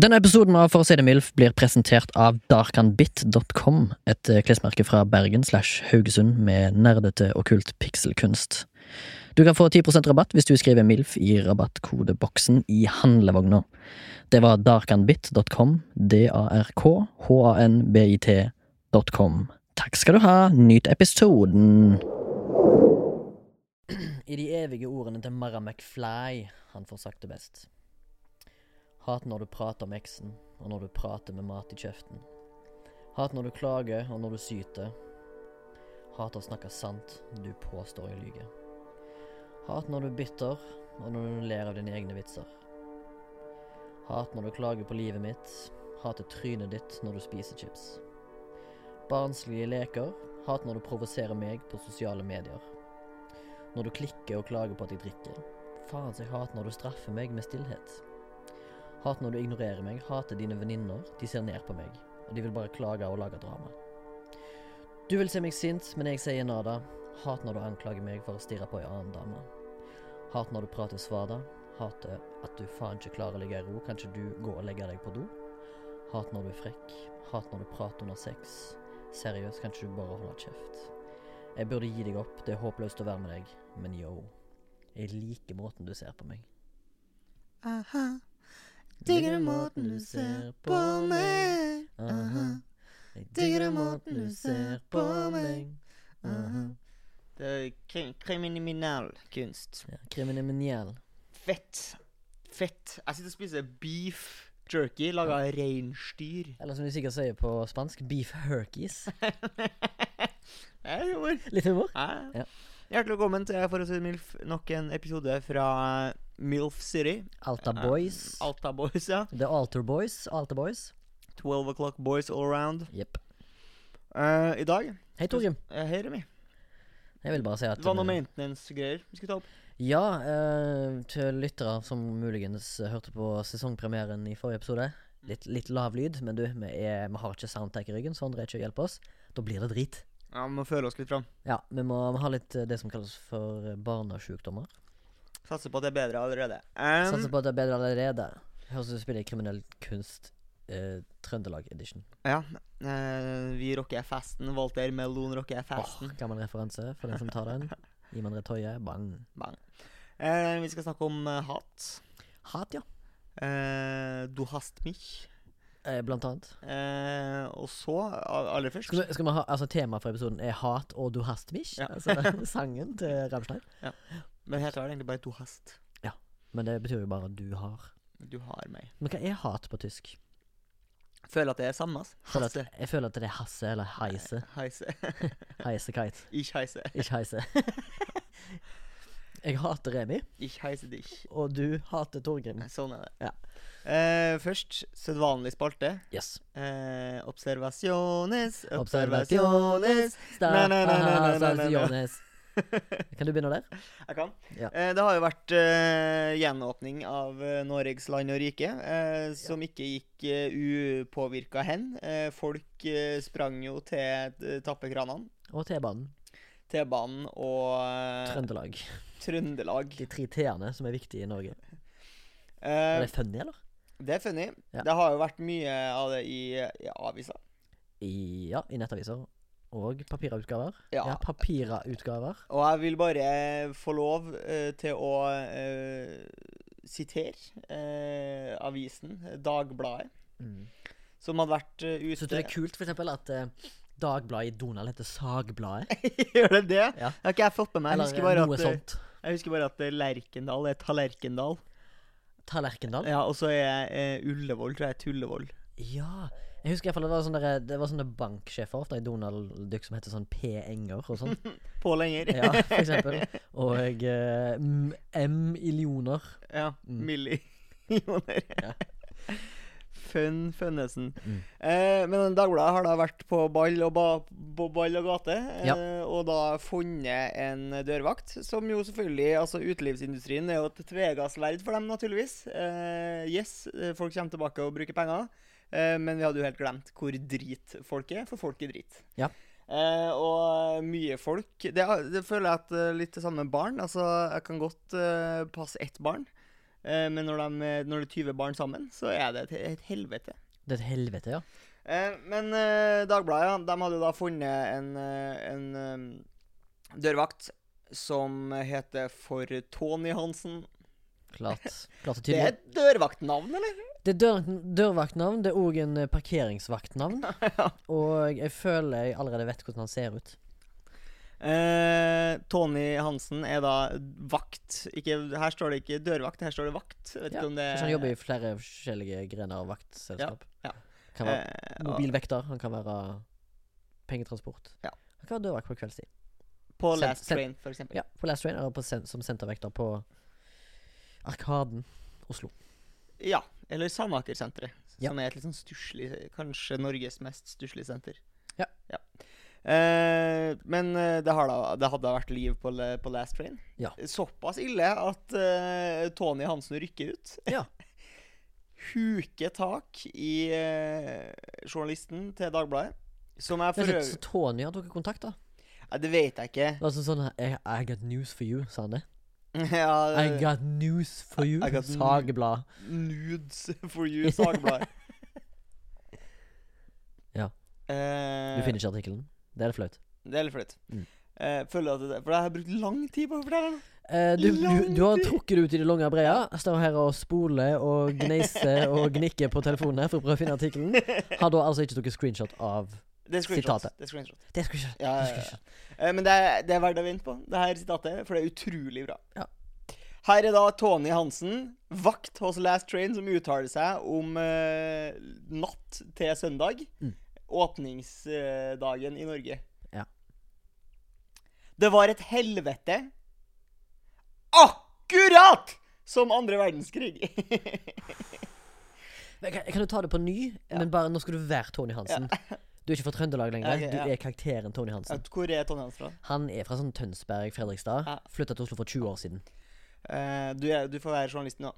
Denne episoden av For å si det mildt blir presentert av darkanbit.com, et eh, klesmerke fra Bergen slash Haugesund med nerdete okkult pikselkunst. Du kan få 10 rabatt hvis du skriver MILF i rabattkodeboksen i handlevogna. Det var darkanbit.com, d-a-r-k-h-a-n-b-i-t.com. Takk skal du ha, nyt episoden! I de evige ordene til Mara McFly, han får sagt det best. Hat når du prater om eksen, og når du prater med mat i kjeften. Hat når du klager, og når du syter. Hat å snakke sant, du påstår jeg lyver. Hat når du er bitter, og når du ler av dine egne vitser. Hat når du klager på livet mitt, hater trynet ditt når du spiser chips. Barnslige leker, hat når du provoserer meg på sosiale medier. Når du klikker og klager på at jeg drikker. Faen så jeg hater når du straffer meg med stillhet. Hat når du ignorerer meg, hater dine venninner, de ser ned på meg, og de vil bare klage og lage drama. Du vil se meg sint, men jeg sier nada. Hat når du anklager meg for å stirre på ei annen dame. Hat når du prater svada. Hater at du faen ikke klarer å ligge i ro, kan ikke du gå og legge deg på do? Hat når du er frekk. Hat når du prater under sex. Seriøst, kan ikke du bare holde kjeft? Jeg burde gi deg opp, det er håpløst å være med deg, men yo. Jeg liker måten du ser på meg. Aha. Digger den måten du ser på meg. Aha. Jeg Digger den måten du ser på meg. Aha. Det er krim kriminell kunst. Ja, kriminell. Fett. Fett. Jeg sitter og spiser beef jerky laga av reinsdyr. Eller som de sikkert sier på spansk, beef herkies. Det er humor. Litt humor. Hæ? Ja. Hjertelig velkommen til For å si det MILF, nok en episode fra MILF City. Alta Boys. Eh, Alta Boys, ja. The Alter Boys. Alta Boys. 12 o'clock boys all around. Jepp. Eh, I dag Hei, Torgrim. uh, Hei, Remi. Jeg vil bare si at Det var noe maintenance-greier vi skulle ta opp. Ja, eh, til lyttere som muligens hørte på sesongpremieren i forrige episode. Litt, litt lav lyd, men du, vi, er, vi har ikke soundtech i ryggen, så André ikke hjelper oss. Da blir det drit. Ja, Vi må føle oss litt fram. Ja, vi må vi har litt eh, det som kalles for eh, barnesjukdommer. Satser på at det er bedre allerede. Em, Satser på at det er bedre allerede. Høres ut som du spiller i kriminell kunst eh, Trøndelag edition. ja, eh, vi rocker festen. Walter Melon rocker festen. Åh, gammel referanse for den som tar den. Gi meg en retøye, bang. Eh, vi skal snakke om eh, hat. Hat, ja. Eh, du hast mich. Eh, blant annet. Eh, og så, a- aller først Skal vi, skal vi ha, altså Temaet for episoden er hat og du hast mich. Ja. Altså sangen til Rammstein. Men heter det egentlig bare du hast. Men det betyr jo bare du har. Du har meg. Men hva er hat på tysk? Føler at det er samme. ass. Føler at, Hasse. jeg føler at det er hasse eller heise. Heise. Heisekite. Ich heise. Ikke heise. jeg hater Remi, Ich heise dich. og du hater Torgrim. Sånn er det. Ja. Eh, først sedvanlig spalte. Yes. Eh, observasjones, observasjones Observasjones. Nei, nei, nei, nei, Aha, nei, nei, nei. Johannes. Kan du begynne der? Jeg kan. Ja. Eh, det har jo vært eh, gjenåpning av eh, Norges land og rike, eh, som ikke gikk eh, upåvirka hen. Eh, folk eh, sprang jo til eh, tappekranene, Og T-banen. T-banen og eh, Trøndelag. Trøndelag. De tre T-ene som er viktige i Norge. Er Eh, det funny, eller? det er funny. Ja. Det har jo vært mye av det i, i avisa. I, ja, i nettaviser. Og papirutgaver. Ja. Ja, papirutgaver. Og jeg vil bare få lov eh, til å eh, sitere eh, avisen, Dagbladet, som hadde vært eh, Syns Mm. ute du det er kult for eksempel, at eh, Dagbladet i Donald heter Sagbladet? Gjør det det? Ja. Det har ikke jeg fått med meg. Jeg Eller husker, eh, bare noe at, sånt. jeg husker bare at eh, Lerkendal er Tallerkendal. Tallerkendal? Ja. Ja, og så er eh, Ullevål, tror jeg, er Tullevoll. Jeg husker i hvert fall det var sånne, der- det var sånne banksjefer ofte i Donald-dykk som heter sånn P. Enger og sånn. På lenger. Ja, for eksempel. Og eh, M- M. Illioner. Ja, Mm. millioner. Ja. Fønn Fønnesen. Mm. Eh, men Dagbladet har da vært på ball og, ba på ball og gate, eh, Ja. og da funnet en dørvakt, som jo selvfølgelig altså Utelivsindustrien er jo et tvega sverd for dem, naturligvis. Eh, yes, eh, folk kommer tilbake og bruker penger, eh, men vi hadde jo helt glemt hvor drit folk er, for folk er drit. Ja. Eh, og mye folk det, det føler jeg at eh, litt det samme med barn. Altså, jeg kan godt eh, passe ett barn. Eh, men når, de, når det er 20 barn sammen, så er det et, et helvete. Det er et helvete, ja. Eh, men eh, Dagbladet ja, de hadde jo da funnet en, eh, en eh, dørvakt som heter for Tony Hansen. Klart. Klart og Det er tydelig. et dørvaktnavn, eller? Det er dør, dørvaktnavn. Det er òg en eh, parkeringsvaktnavn. Og jeg føler jeg allerede vet hvordan han ser ut. Eh, Tony Hansen er da vakt. Ikke, her står det ikke dørvakt, her står det vakt. Jeg Vet Ja, ikke om det Kanskje han sånn jobber i flere forskjellige grener av vaktselskap. Ja, ja. Kan være Eh, og mobilvekter, han kan være pengetransport. Ja. Han kan være dørvakt på kveldstid. På Sent- Last sent- Train, for eksempel. Ja, på Last Train eller på sen som sentervekter på Arkaden Oslo. Ja, eller Sandaker-senteret, Ja. som er et litt sånn stusslig Kanskje Norges mest stusslige senter. Ja. Eh, men eh, det, har da, det hadde da vært liv på, le- på Last Train. Ja. Såpass ille at eh, Tony Hansen rykker ut. Ja. Huker tak i eh, journalisten til Dagbladet. Som jeg Men for så, øvrig så Tony har dukket kontakt, da. Nei, Det vet jeg ikke. Det var sånn sånn I, I got news for you, sa han det. ja, I got news for you. Eh, I got news. Sageblad. eh, Nudes for you, Sagbladet. Ja. Du Eh, finner ikke artikkelen. Det er det flaut. Det er litt flaut. Mm. Eh, føler at det, for jeg har brukt lang tid på å fortelle den. Eh, du, du, Lang du har tid. trukket det ut i det lange og brede. Står her og spoler og gneiser og gnikker på telefonen her for å prøve å finne artikkelen. Har da altså ikke tatt screenshot av Det er screenshot. Sitatet. Det er screenshot. Det er screenshot. det Ja, er ja, ja. screenshot. Eh, men det er, det er verdt å vente på, det her sitatet, for det er utrolig bra. Ja. Her er da Tony Hansen, vakt hos Last Train, som uttaler seg om eh, natt til søndag. Mm. Åpningsdagen i Norge. Ja. Det var et helvete akkurat som andre verdenskrig. Men Kan, kan du ta det på ny, men bare nå skal du være Tony Hansen. Du er ikke fra Trøndelag lenger. Ok, ja. Du er karakteren Tony Hansen. Hvor er Tony Hansen fra? Han er fra sånn Tønsberg, Fredrikstad. Ja. Flytta til Oslo for 20 år siden. Eh, du, er, du får være journalist nå.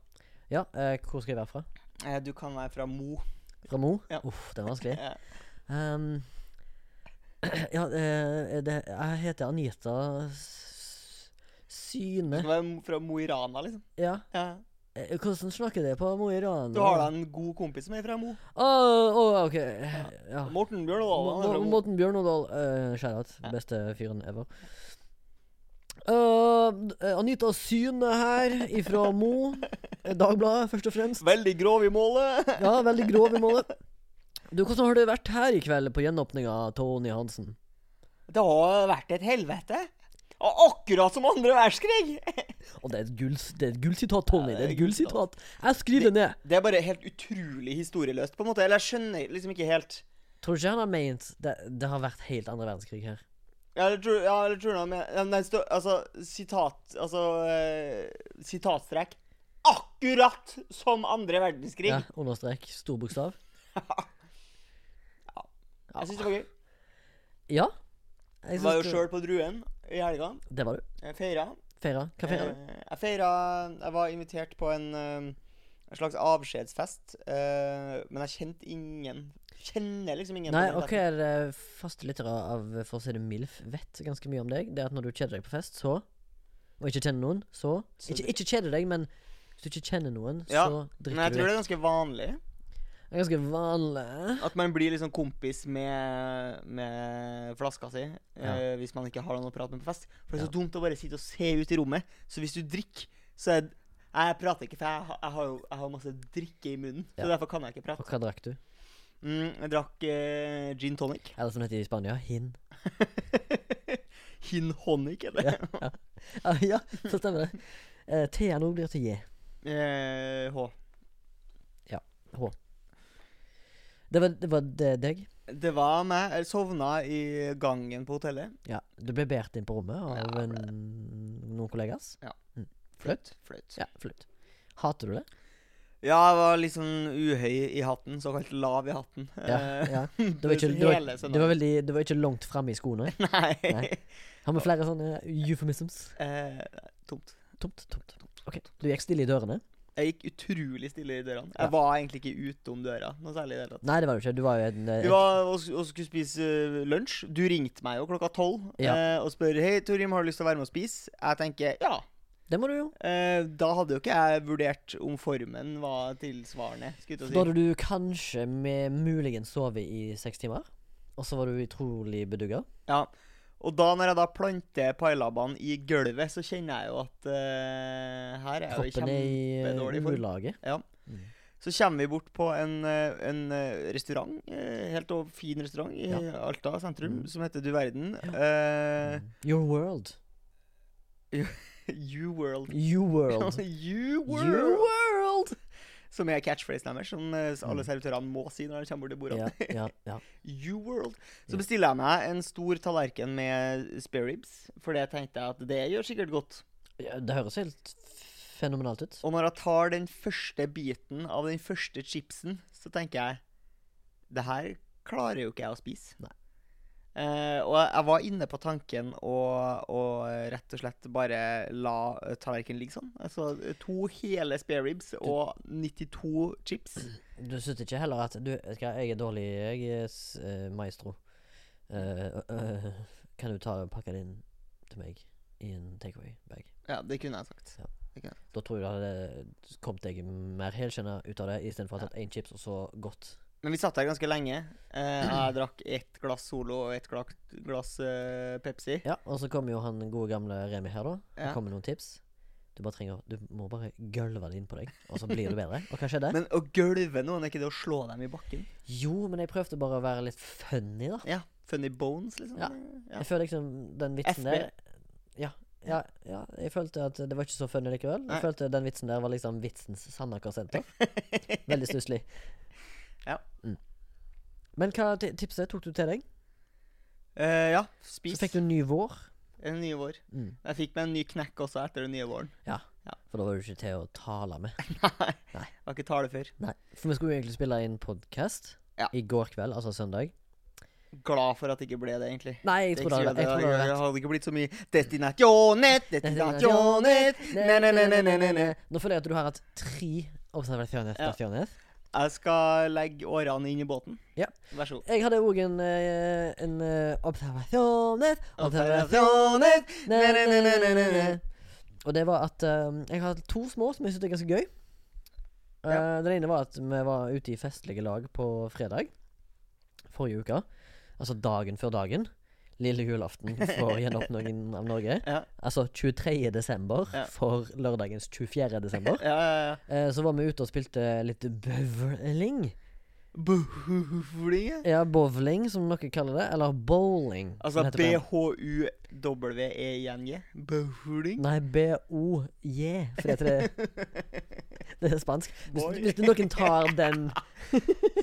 Ja, eh, hvor skal jeg være fra? Eh, du kan være fra Mo. Eh, Fra Mo? Ja. Uff, den er vanskelig. Ja. Um, ja, eh, det, jeg heter Anita S- Du Syne. kan være fra Mo i Rana, liksom. Ja. Ja. Eh, Hvordan snakker det på Mo i Rana? Du har da en god kompis som er fra Mo. Å, å, ok. Ja. Morten Bjørndal. Mo- han er fra Mo- Ah. Mo. Morten Bjørnodal, uh, shout-out. Ja. Beste fyren ever. Eh, d- Anita Syne her, ifra Mo. Eh, Dagbladet, først og fremst. Veldig grov i målet. Ja, veldig grov i målet. Du, Hvordan har det vært her i kveld på gjenåpninga av Tony Hansen? Det har vært et helvete. Og akkurat som andre verdenskrig. Og det er et gull- det er et gullsitat, Tony. Det er et gullsitat. Jeg skriver det ned. Det er bare helt utrolig historieløst, på en måte. Eller jeg skjønner liksom ikke helt. Tror du ikke han har ment det, det har vært helt andre verdenskrig her? Ja, eller tror, ja, eller tror du han mener ja, Nei, stå, altså, sitat Altså, eh, sitatstrek. Akkurat som andre verdenskrig. Ja, understrek. Stor bokstav. Jeg syns det var gøy. Ja. Jeg Jeg var jo syns sjøl på Druen i helga. det, det var du. Jeg feira. Feira. Hva feira du? Eh, Jeg feira Jeg var invitert på en, eh, en slags avskjedsfest, eh, men jeg kjente ingen. Kjenner liksom ingen. på Nei, den ok, festen. det er faste lyttere av For å si det MILF vet ganske mye om deg. Det er at når du kjeder deg på fest, så Og ikke kjenner noen, så Så Ikke, dri- ikke kjeder deg, men hvis du ikke kjenner noen, Ja, så Men drikker jeg tror du. det er ganske vanlig Det er ganske vanlig. at man blir liksom kompis med, med flaska si eh, Ja. hvis man ikke har noen å prate med på fest. For det er så dumt å bare sitte og se ut i rommet. Så hvis du drikker, så er jeg prater ikke, for jeg, har- jeg har jo jeg har masse drikke i munnen. Så derfor kan jeg ikke prate. Og hva drakk du? Mm, jeg drakk eh, gin tonic. Eller som det heter i Spania, hin. Hin honic, er det? Ah, ja, så stemmer det. Eh, T-en òg blir til J. Eh, H. Det var, det var det, deg. Det var meg. Jeg sovna i gangen på hotellet. Ja, du ble båret inn på rommet av Ja, en, noen kollegas. Flaut? Flaut. Ja, flaut. Hater du det? Ja, jeg var litt sånn uhøy i hatten. Såkalt lav i hatten. Ja. Eh, ja. Du, var ikke, du, var, Hele søndagen. du, var veldig, du var ikke langt framme i skoene. Nei. Nei. Har vi flere sånne euphemisms? Eh, tomt. Tomt, tomt. Ok, Du gikk stille i dørene? Jeg gikk utrolig stille i dørene. Ja. Jeg var egentlig ikke utom døra noe særlig. i det hele tatt. Nei, det var du ikke. Du var jo en eh, Vi var og, sk- og skulle spise eh, lunsj. Du ringte meg jo klokka tolv Ja. eh, og spør Hei, Torim, har du lyst til å være med og spise. Jeg tenker ja. Det må du jo. Eh, da hadde jo ikke jeg vurdert om formen var tilsvarende. skulle jeg Så da til å si. hadde du kanskje med muligens sovet i seks timer, og så var du utrolig bedugga. Ja. Og da når jeg da planter pailabbene i gulvet, så kjenner jeg jo at eh, her er jeg jo i Kroppen er i eh, kjempedårlig form. ulage. Ja. Mm. Så kommer vi bort på en, eh, en eh, restaurant, eh, helt og fin restaurant i Ja. Alta sentrum, Mm. som heter Du verden. Eh, Your world. you World. You Mm. world. you World! You world! Som er catchphrasen deres, som eh, alle Mm. servitørene må si når de kommer bort til bordet. Ja, ja, ja. You World. Så Ja. bestiller jeg meg en stor tallerken med spare ribs, for det tenkte jeg at det gjør sikkert godt. ja. Det høres helt fenomenalt ut. Og når jeg tar den første biten av den første chipsen, så tenker jeg Det her klarer jo ikke jeg å spise. Nei. Eh, og jeg jeg var inne på tanken å, å rett og slett bare la eh, tallerkenen ligge sånn. Altså eh, to hele spare ribs og 92 chips. Du syns ikke heller at du, vet du hva, Jeg er dårlig, jeg er s- eh, maestro. Eh, eh, eh, kan du ta og pakke det inn til meg i en takeaway-bag? Ja, det kunne jeg sagt. Da tror jeg det hadde eh, kommet deg mer helskjenna ut av det, istedenfor at én chips og så godt. Men vi satt der ganske lenge. Eh, jeg drakk ett glass Solo og ett gla- glass eh, Pepsi. Ja, og så kommer jo han gode gamle Remi her, da. Han Ja. kommer med noen tips. Du bare trenger Du må bare gølve det inn på deg, og så blir du bedre. Og hva skjedde? Men å gulve noen, er ikke det å slå dem i bakken? Jo, men jeg prøvde bare å være litt funny, da. Ja. Funny bones, liksom? Ja. Ja. Jeg føler liksom den vitsen FB. der ja, ja, ja, jeg følte at det var ikke så funny likevel. Nei. Jeg følte den vitsen der var liksom vitsens sanne karsenter. Veldig stusslig. Ja. Mm. Men hva ti- tipset tok du til deg? Eh, ja, Så spis. fikk du en ny vår. En ny vår. Mm. Jeg fikk meg en ny knekk også etter den nye våren. For da var du ikke til å tale med. Jeg har ikke tale før. Nei, For vi skulle jo egentlig spille inn podkast Ja. i går kveld, altså søndag. Glad for at det ikke ble det, egentlig. Nei, jeg Det tror det ikke- hadde jeg tror det Mm. hadde det vært hadde ikke blitt så mye Destinationet, destinationet ne-ne-ne-ne-ne-ne. Nå føler jeg at du har hatt tre observasjoner. Ja. observasjoner. Jeg skal legge årene inn i båten. Ja. Vær så god. Jeg hadde òg en, eh, en eh, observasjoner. observasjoner. Observasjonet, Ne, ne, ne, ne, ne, ne, ne-ne-ne-ne-ne. ne. Og det var at eh, jeg har to små som jeg syns er ganske gøy. Eh, Den ene var at vi var ute i festlige lag på fredag forrige uke. Altså dagen før dagen. Lille julaften for gjenåpningen av Norge. Ja. Altså 23. desember Ja. for lørdagens 24. desember. Ja, ja, ja. Eh, Så var vi ute og spilte litt bøvling. Bowling? Ja, bowling, som noen kaller det. Eller bowling. som Altså det heter på- B-H-U-W-E-I-N-G. Bowling? Nei, B-O-J, for det heter det Det er spansk. Oi. Hvis, hvis noen tar den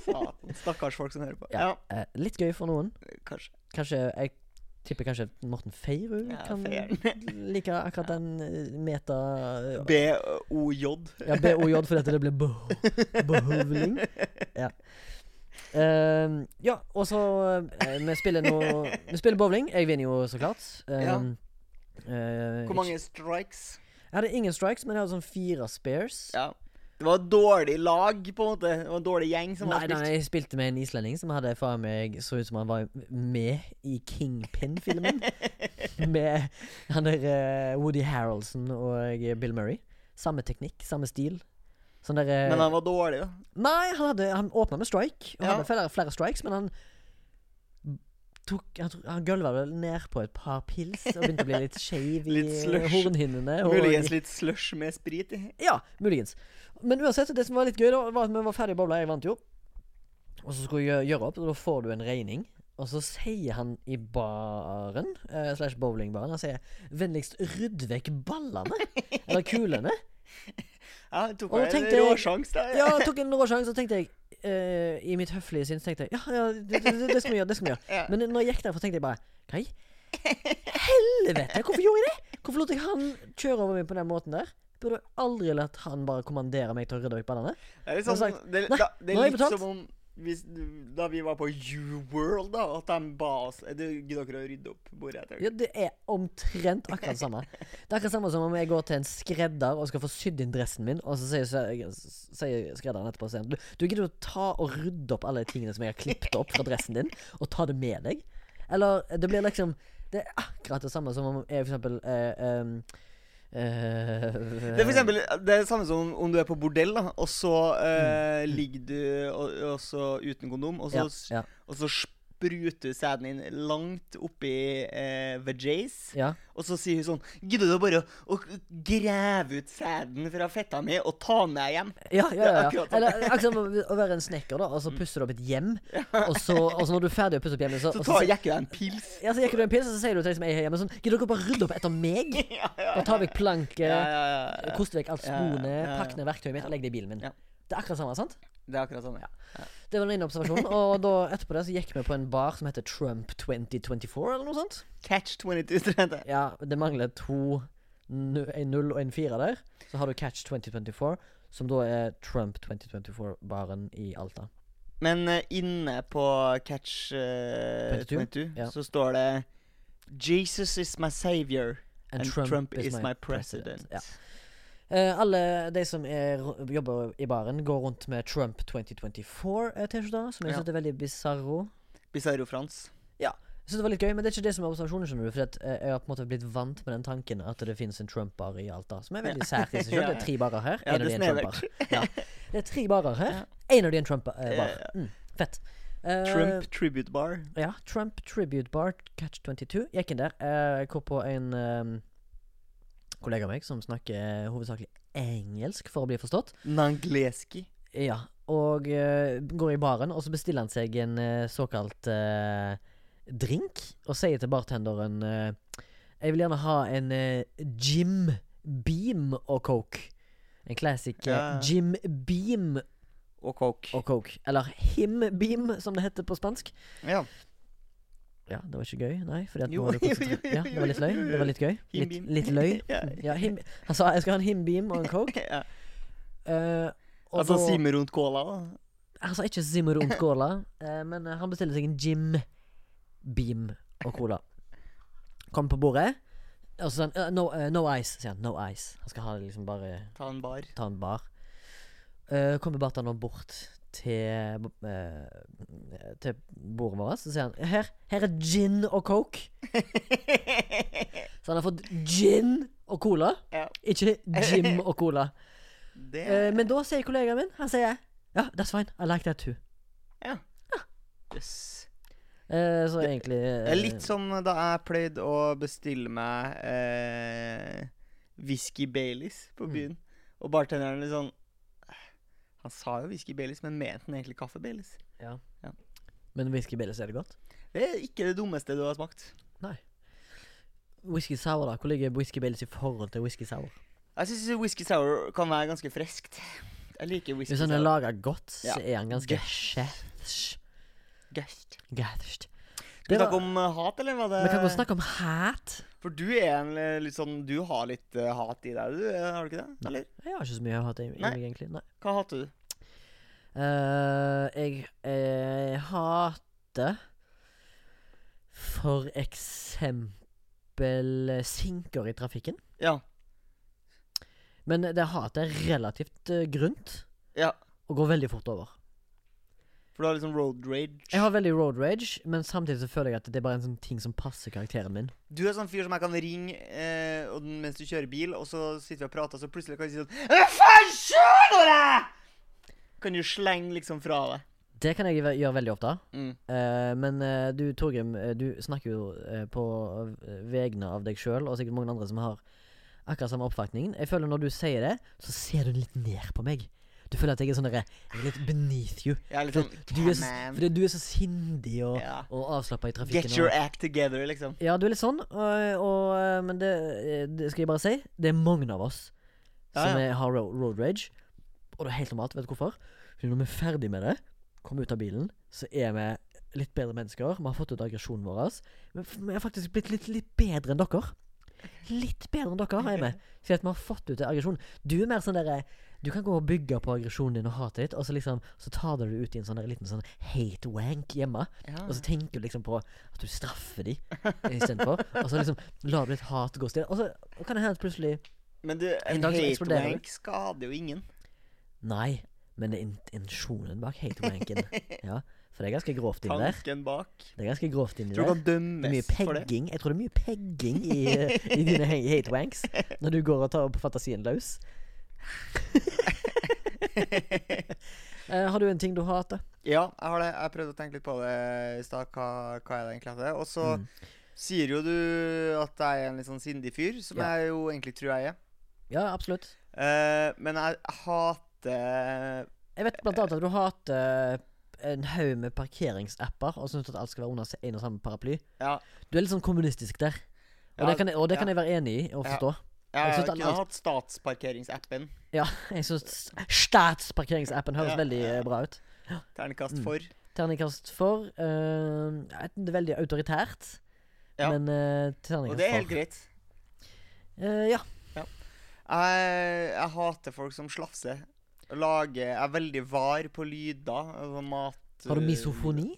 Satan. Stakkars folk som hører på. Ja. Ja, eh, Litt gøy for noen. kanskje. Kanskje Jeg tipper kanskje Morten Feirud Ja, kan Feiren. like akkurat den eh, meta... B-O-J. Ja, BOJ, for dette det blir bo behovling. Ja. Ehm, ja, og så eh, Vi spiller noe Vi spiller bowling. Jeg vinner jo, så klart. Ehm, eh, Hvor mange strikes? Jeg hadde ingen strikes, men jeg hadde sånn fire spares. Ja. Det var et dårlig lag, på en måte. Det var en dårlig gjeng som Nei, hadde nei, spilt. jeg spilte med en islending som hadde faen meg så ut som han var med i Kingpin-filmen. med han der eh, Woody Harroldson og eh, Bill Murray. Samme teknikk, samme stil. Sånn der eh, Men han var dårlig, da. Nei, han, hadde, han åpna med strike. Og Ja. hadde flere, flere strikes, men han tok, Han, tok- han gølva vel ned på et par pils og begynte å bli litt skeiv i Litt slush. hornhinnene. og- Muligens litt slush med sprit i. ja, muligens. Men uansett, det som var litt gøy, da var at vi var ferdig i bobla. Jeg vant jo. Og så skulle jeg gjø- gjøre opp, og da får du en regning. Og så sier han i baren, eh, slash bowlingbaren, han sier 'vennligst rydd vekk ballene'. Eller kulene. Ja, jeg tok Og meg tenkte en jeg- råsjans der. Ja, jeg tok en rå sjanse, og tenkte jeg eh, I mitt høflige sinn så tenkte jeg ja, ja, det, det, det skal vi gjøre. det skal vi gjøre Ja. Men når jeg gikk derfra, tenkte jeg bare Hva i helvete? Hvorfor gjorde jeg det? Hvorfor lot jeg han kjøre over meg på den måten der? Burde jeg aldri latt han bare kommandere meg til å rydde vekk ballene? Det er Jeg litt har sånn sagt, Det, nei, da, det nå har er jeg litt betalt. som om hvis, du- da vi var på U-World, da, at de ba oss eh, du, Gidder dere å rydde opp bordet etter Ja, det er omtrent akkurat det samme. Det er akkurat samme som om jeg går til en skredder og skal få sydd inn dressen min, og så sier, s- sier skredderen etterpå sier han, du, du gidder å ta og rydde opp alle de tingene som jeg har klippet opp fra dressen din, og ta det med deg? Eller det blir liksom Det er akkurat det samme som om jeg for eksempel eh, em, Eh, Det er for eksempel det er samme som om du er på bordell, da, og så eh, ligger du og, og så uten kondom, og så, Mm. ja, eh, ja, og så spruter sæden din langt oppi eh, vajays, ja. og så sier hun sånn Gidder du bare å, å grave ut sæden fra fetta mi og ta den med hjem? Ja, ja, ja, ja. akkurat sånn. Eller akkurat som å å være en snekker, da. Og så pusser du opp et hjem. Og så, og så når du er ferdig å pusse opp hjemmet, så, Så og tar så, jeg ikke deg en pils. ja, så gir du en pils, og så sier du til de som er hjemme sånn Gidder dere bare rydde opp etter meg? Da tar vekk planket, Ja, ja, ja, ja. koster vekk alt Ja, ja, skoene, ja, ja. pakk ned verktøyet mitt og legg det i bilen min. Ja. Det er akkurat samme, sant? Det er akkurat sånn, ja. Det var den ene observasjonen. Og da, etterpå det så gikk vi på en bar som heter Trump 2024, eller noe sånt. Catch 22, tror jeg det heter. Ja, det mangler to nu- En null og en fire der. Så har du Catch 2024, som da er Trump 2024-baren i Alta. Men eh, inne på Catch eh, 22, 22 ja. så står det Jesus is my savior. And, Trump, is, my president. Ja. Eh, alle de som er, jobber i baren, går rundt med Trump 2024-T-skjorter, som jeg Ja. synes er veldig bisarro. Bizarro Frans. Jeg synes det var litt gøy, men det er ikke det som er observasjonen, skjønner du. For at, eh, jeg har på en måte blitt vant med den tanken at det finnes en Trump-bar i Alta, som er veldig sært i seg selv. Det er tre barer her, Ja, en av det de er er en Trump-bar. Ja. Det er tre barer her, en av de er en Ja, Trump-bar. ja. Mm, fett. Eh, Eh, Trump Tribute Bar. Ja, Trump Tribute Bar Catch 22. Gikk inn der. Eh, hvorpå en eh, kollega av meg som snakker eh, hovedsakelig engelsk for å bli forstått. Nangleski. Ja, og eh, går i baren, og så bestiller han seg en eh, såkalt eh, drink, og sier til bartenderen eh, Jeg vil gjerne ha en eh, Jim Beam og Coke. En classic eh, Ja. Jim Beam Og coke. og Coke. Eller Him Beam, som det heter på spansk. Ja. Ja, det var ikke gøy, nei. Fordi at nå Jo, var det jo, konsentrert. jo, jo, Ja, det var litt løy. jo, jo, Det var litt gøy. Him Litt, Beam. litt løy. Ja. Ja, him, han sa jeg skal ha en Him Beam og en Coke. ja. Eh, og Altså da- Simen rundt cola, da. Han sa ikke Zimmer rundt cola, eh, men eh, han bestiller seg en Jim Beam og cola. Kom på bordet, og så sa han eh, no, eh, no ice, sier han. No ice. Han skal ha det liksom bare Ta en bar. ta en bar. Eh, kommer bartenderen bort til, eh, til bordet vårt, så sier han her, her er gin og coke. så han har fått gin og cola, Ja. ikke Jim og cola. Det Eh, men da sier kollegaen min, han sier ja, that's fine, I like that too. Yes. Eh, så egentlig Det eh, er litt som da jeg pleide å bestille meg eh, whisky Baileys på Mm. byen. Og bartenderen litt sånn Han sa jo whisky Baileys, men mente han egentlig kaffe Baileys? Men whisky Baileys er det godt? Det er ikke det dummeste du har smakt. Whisky sour, da? Hvor ligger whisky Baileys i forhold til whisky sour? Jeg syns whisky sour kan være ganske friskt. Jeg liker whisky Hvis han er sånn sour. laga godt, så Ja. er han ganske Gæsj. chefs. Gøst. Gæsj. Skal vi Det var- snakke om eh, hat, eller var det Vi kan godt snakke om hat. For du er en eh, litt sånn Du har litt eh, hat i deg, du? eh, Har du ikke det? Eller? Jeg har ikke så mye hat i i Nei. meg, egentlig. Nei. Hva hater du? Eh, jeg eh, hater for eksempel eh, sinker i trafikken. Ja. Men det hatet er relativt eh, grunt ja. og går veldig fort over. For du har litt sånn road rage. Jeg har veldig road rage, men samtidig så føler jeg at det er bare en sånn ting som passer karakteren min. Du er sånn fyr som jeg kan ringe eh, og den- mens du kjører bil, og så sitter vi og prater, og så plutselig kan jeg si sånn «Hva faen skjer nå, da?! Kan du slenge liksom fra deg. Det kan jeg ve- gjøre veldig ofte. Mm. Eh, men eh, du Torgrim, eh, du snakker jo eh, på eh, vegne av deg sjøl, og sikkert mange andre som har akkurat samme oppfatning. Jeg føler når du sier det, så ser du litt ned på meg. Du føler at jeg er sånn derre jeg er Litt beneath you. Jeg er litt For sånn Du er, så, «Come on». fordi du er så sindig og, Ja. og avslappa i trafikken. Get your og, act together, liksom. ja, du er litt sånn, og, og, eh, men det, eh, det skal jeg bare si. Det er mange av oss Ja, som ja. er, har ro- road rage, og det er helt normalt. Vet du hvorfor? Fordi når vi er ferdig med det, kommer ut av bilen, så er vi litt bedre mennesker. Vi har fått ut aggresjonen vår. Men f- vi er faktisk blitt litt, litt bedre enn dere. Litt bedre enn dere, er vi. Fordi at vi har fått ut aggresjonen. Du er mer sånn derre du kan gå og bygge på aggresjonen din og hatet ditt, og så liksom Så tar du det ut i en sånn der liten sånn hate wank hjemme. Ja. Og så tenker du liksom på at du straffer de istedenfor. Og så liksom lar du litt hat gå stille. Og så kan det hende at plutselig Men du, en dag så hate eksploderer wank skader jo ingen. Nei. men det er intensjonen bak hatewanken. Ja, for det er ganske grovt inni der. Tanken bak. Det er ganske grovt inni Tror der. du kan Det er mye dømmes for det? pegging. Jeg tror det er mye pegging i, eh, i dine hatewanks når du går og tar opp fantasien løs. Eh, har du en ting du hater? Ja, jeg har det. Jeg prøvde å tenke litt på det i stad, hva, hva er det egentlig heter. Og så Mm. sier jo du at jeg er en litt sånn sindig fyr, som Ja. jeg jo egentlig tror jeg er. Ja, absolutt. Eh, men jeg hater Jeg vet blant annet at du hater en haug med parkeringsapper og syns at alt skal være under en og samme paraply. Ja. Du er litt sånn kommunistisk der. Og Ja, det kan jeg, og det kan ja. jeg være enig i og Ja. forstå. Jeg, Jeg synes jeg det er kunne alt- hatt statsparkeringsappen. Ja, jeg syns Statsparkeringsappen høres Ja, veldig ja. eh, bra ut. Ternekast Mm. for. Terningkast for eh, jeg vet, Det er veldig autoritært, Ja. men eh, terningkast Og det er helt for. greit. Eh, ja. Jeg, jeg hater folk som slafser. Lager Jeg er veldig var på lyder. Altså mat eh, Har du misofoni?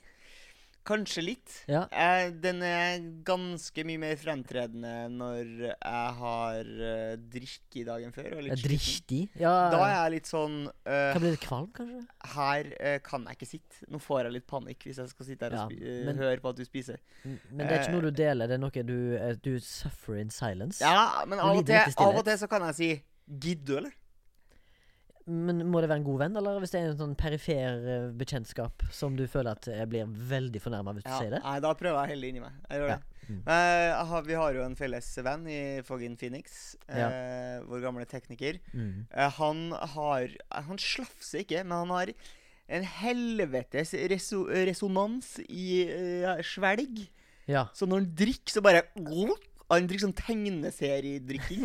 Kanskje litt. Ja. Jeg, den er ganske mye mer fremtredende når jeg har eh, drikk i dagen før. Og Eh, litt sliten. Driktig? Ja. Da er jeg litt sånn eh, Kan bli litt kvalm, kanskje? Her eh, kan jeg ikke sitte. Nå får jeg litt panikk hvis jeg skal sitte her Ja, og spi eh, men- høre på at du spiser. Mm, Men det er ikke Eh. noe du deler, det er noe du, eh, du suffer in silence. Ja, men Og av og, lider til, etter av og stillhet. til så kan jeg si Gidd du, eller? Men må det være en god venn, eller hvis det er en sånn perifer eh, bekjentskap som du føler at jeg blir veldig fornærma hvis du Ja, sier det? Nei, da prøver jeg å helle det inni meg. Jeg gjør Ja, det. mm. Men eh, jeg har, vi har jo en felles venn i Foggin Phoenix, Ja. eh, vår gamle tekniker. Mm. Eh, han har Han slafser ikke, men han har en helvetes reso resonans i eh, svelg. Ja. Så når han drikker, så bare Han drikker sånn tegneseriedrikking.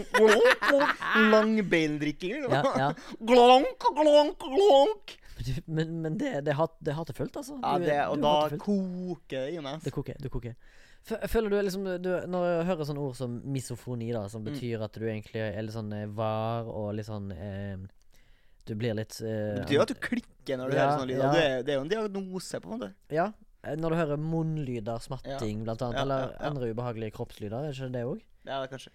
Langbeindrikking. liksom. Ja, ja. Glonk, glonk, glonk. Men, du- men, men det, det, er hat, det er hatefullt, altså. Ja, Du er- det, du og er da hatefull. koker det i meg. Det koker. det koker Fø- Føler du er liksom du, Når jeg hører sånne ord som misofoni, da Mm. som betyr at du egentlig er litt sånn eh, var og litt sånn eh, Du blir litt eh, Det betyr jo at du klikker når du Ja, hører sånne lyder. ja. Du er- Det er jo en diagnose, på en måte. Ja. eh, Når du hører munnlyder, smatting, blant annet, Ja, eller ja, ja. andre ubehagelige kroppslyder, er ikke det det òg? Ja, det er kanskje.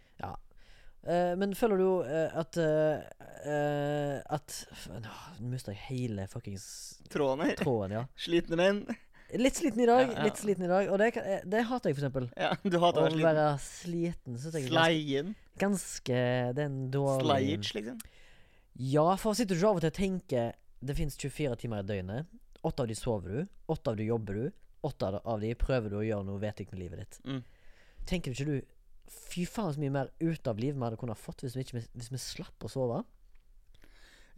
Eh, men føler du eh, at eh, eh, At f- Nå mista jeg hele fuckings Tråden her. tråden, ja. Slitne menn. Litt sliten i dag, Ja, ja. litt sliten i dag. Og det, kan- eh, det hater jeg, for eksempel. Ja, du Å hater å være sliten. være sliten synes jeg er ganske, Sleien. ganske Det er en dårlig Sleiage, liksom. Ja, for sitter du av og til og tenker Det finnes 24 timer i døgnet. Åtte av de sover du, åtte av de jobber du, åtte av- av de prøver du å gjøre noe vettig med livet ditt. Mm. Tenker ikke du Fy faen så mye mer ut av livet vi hadde kunnet ha fått hvis vi, ikke, hvis vi slapp å sove?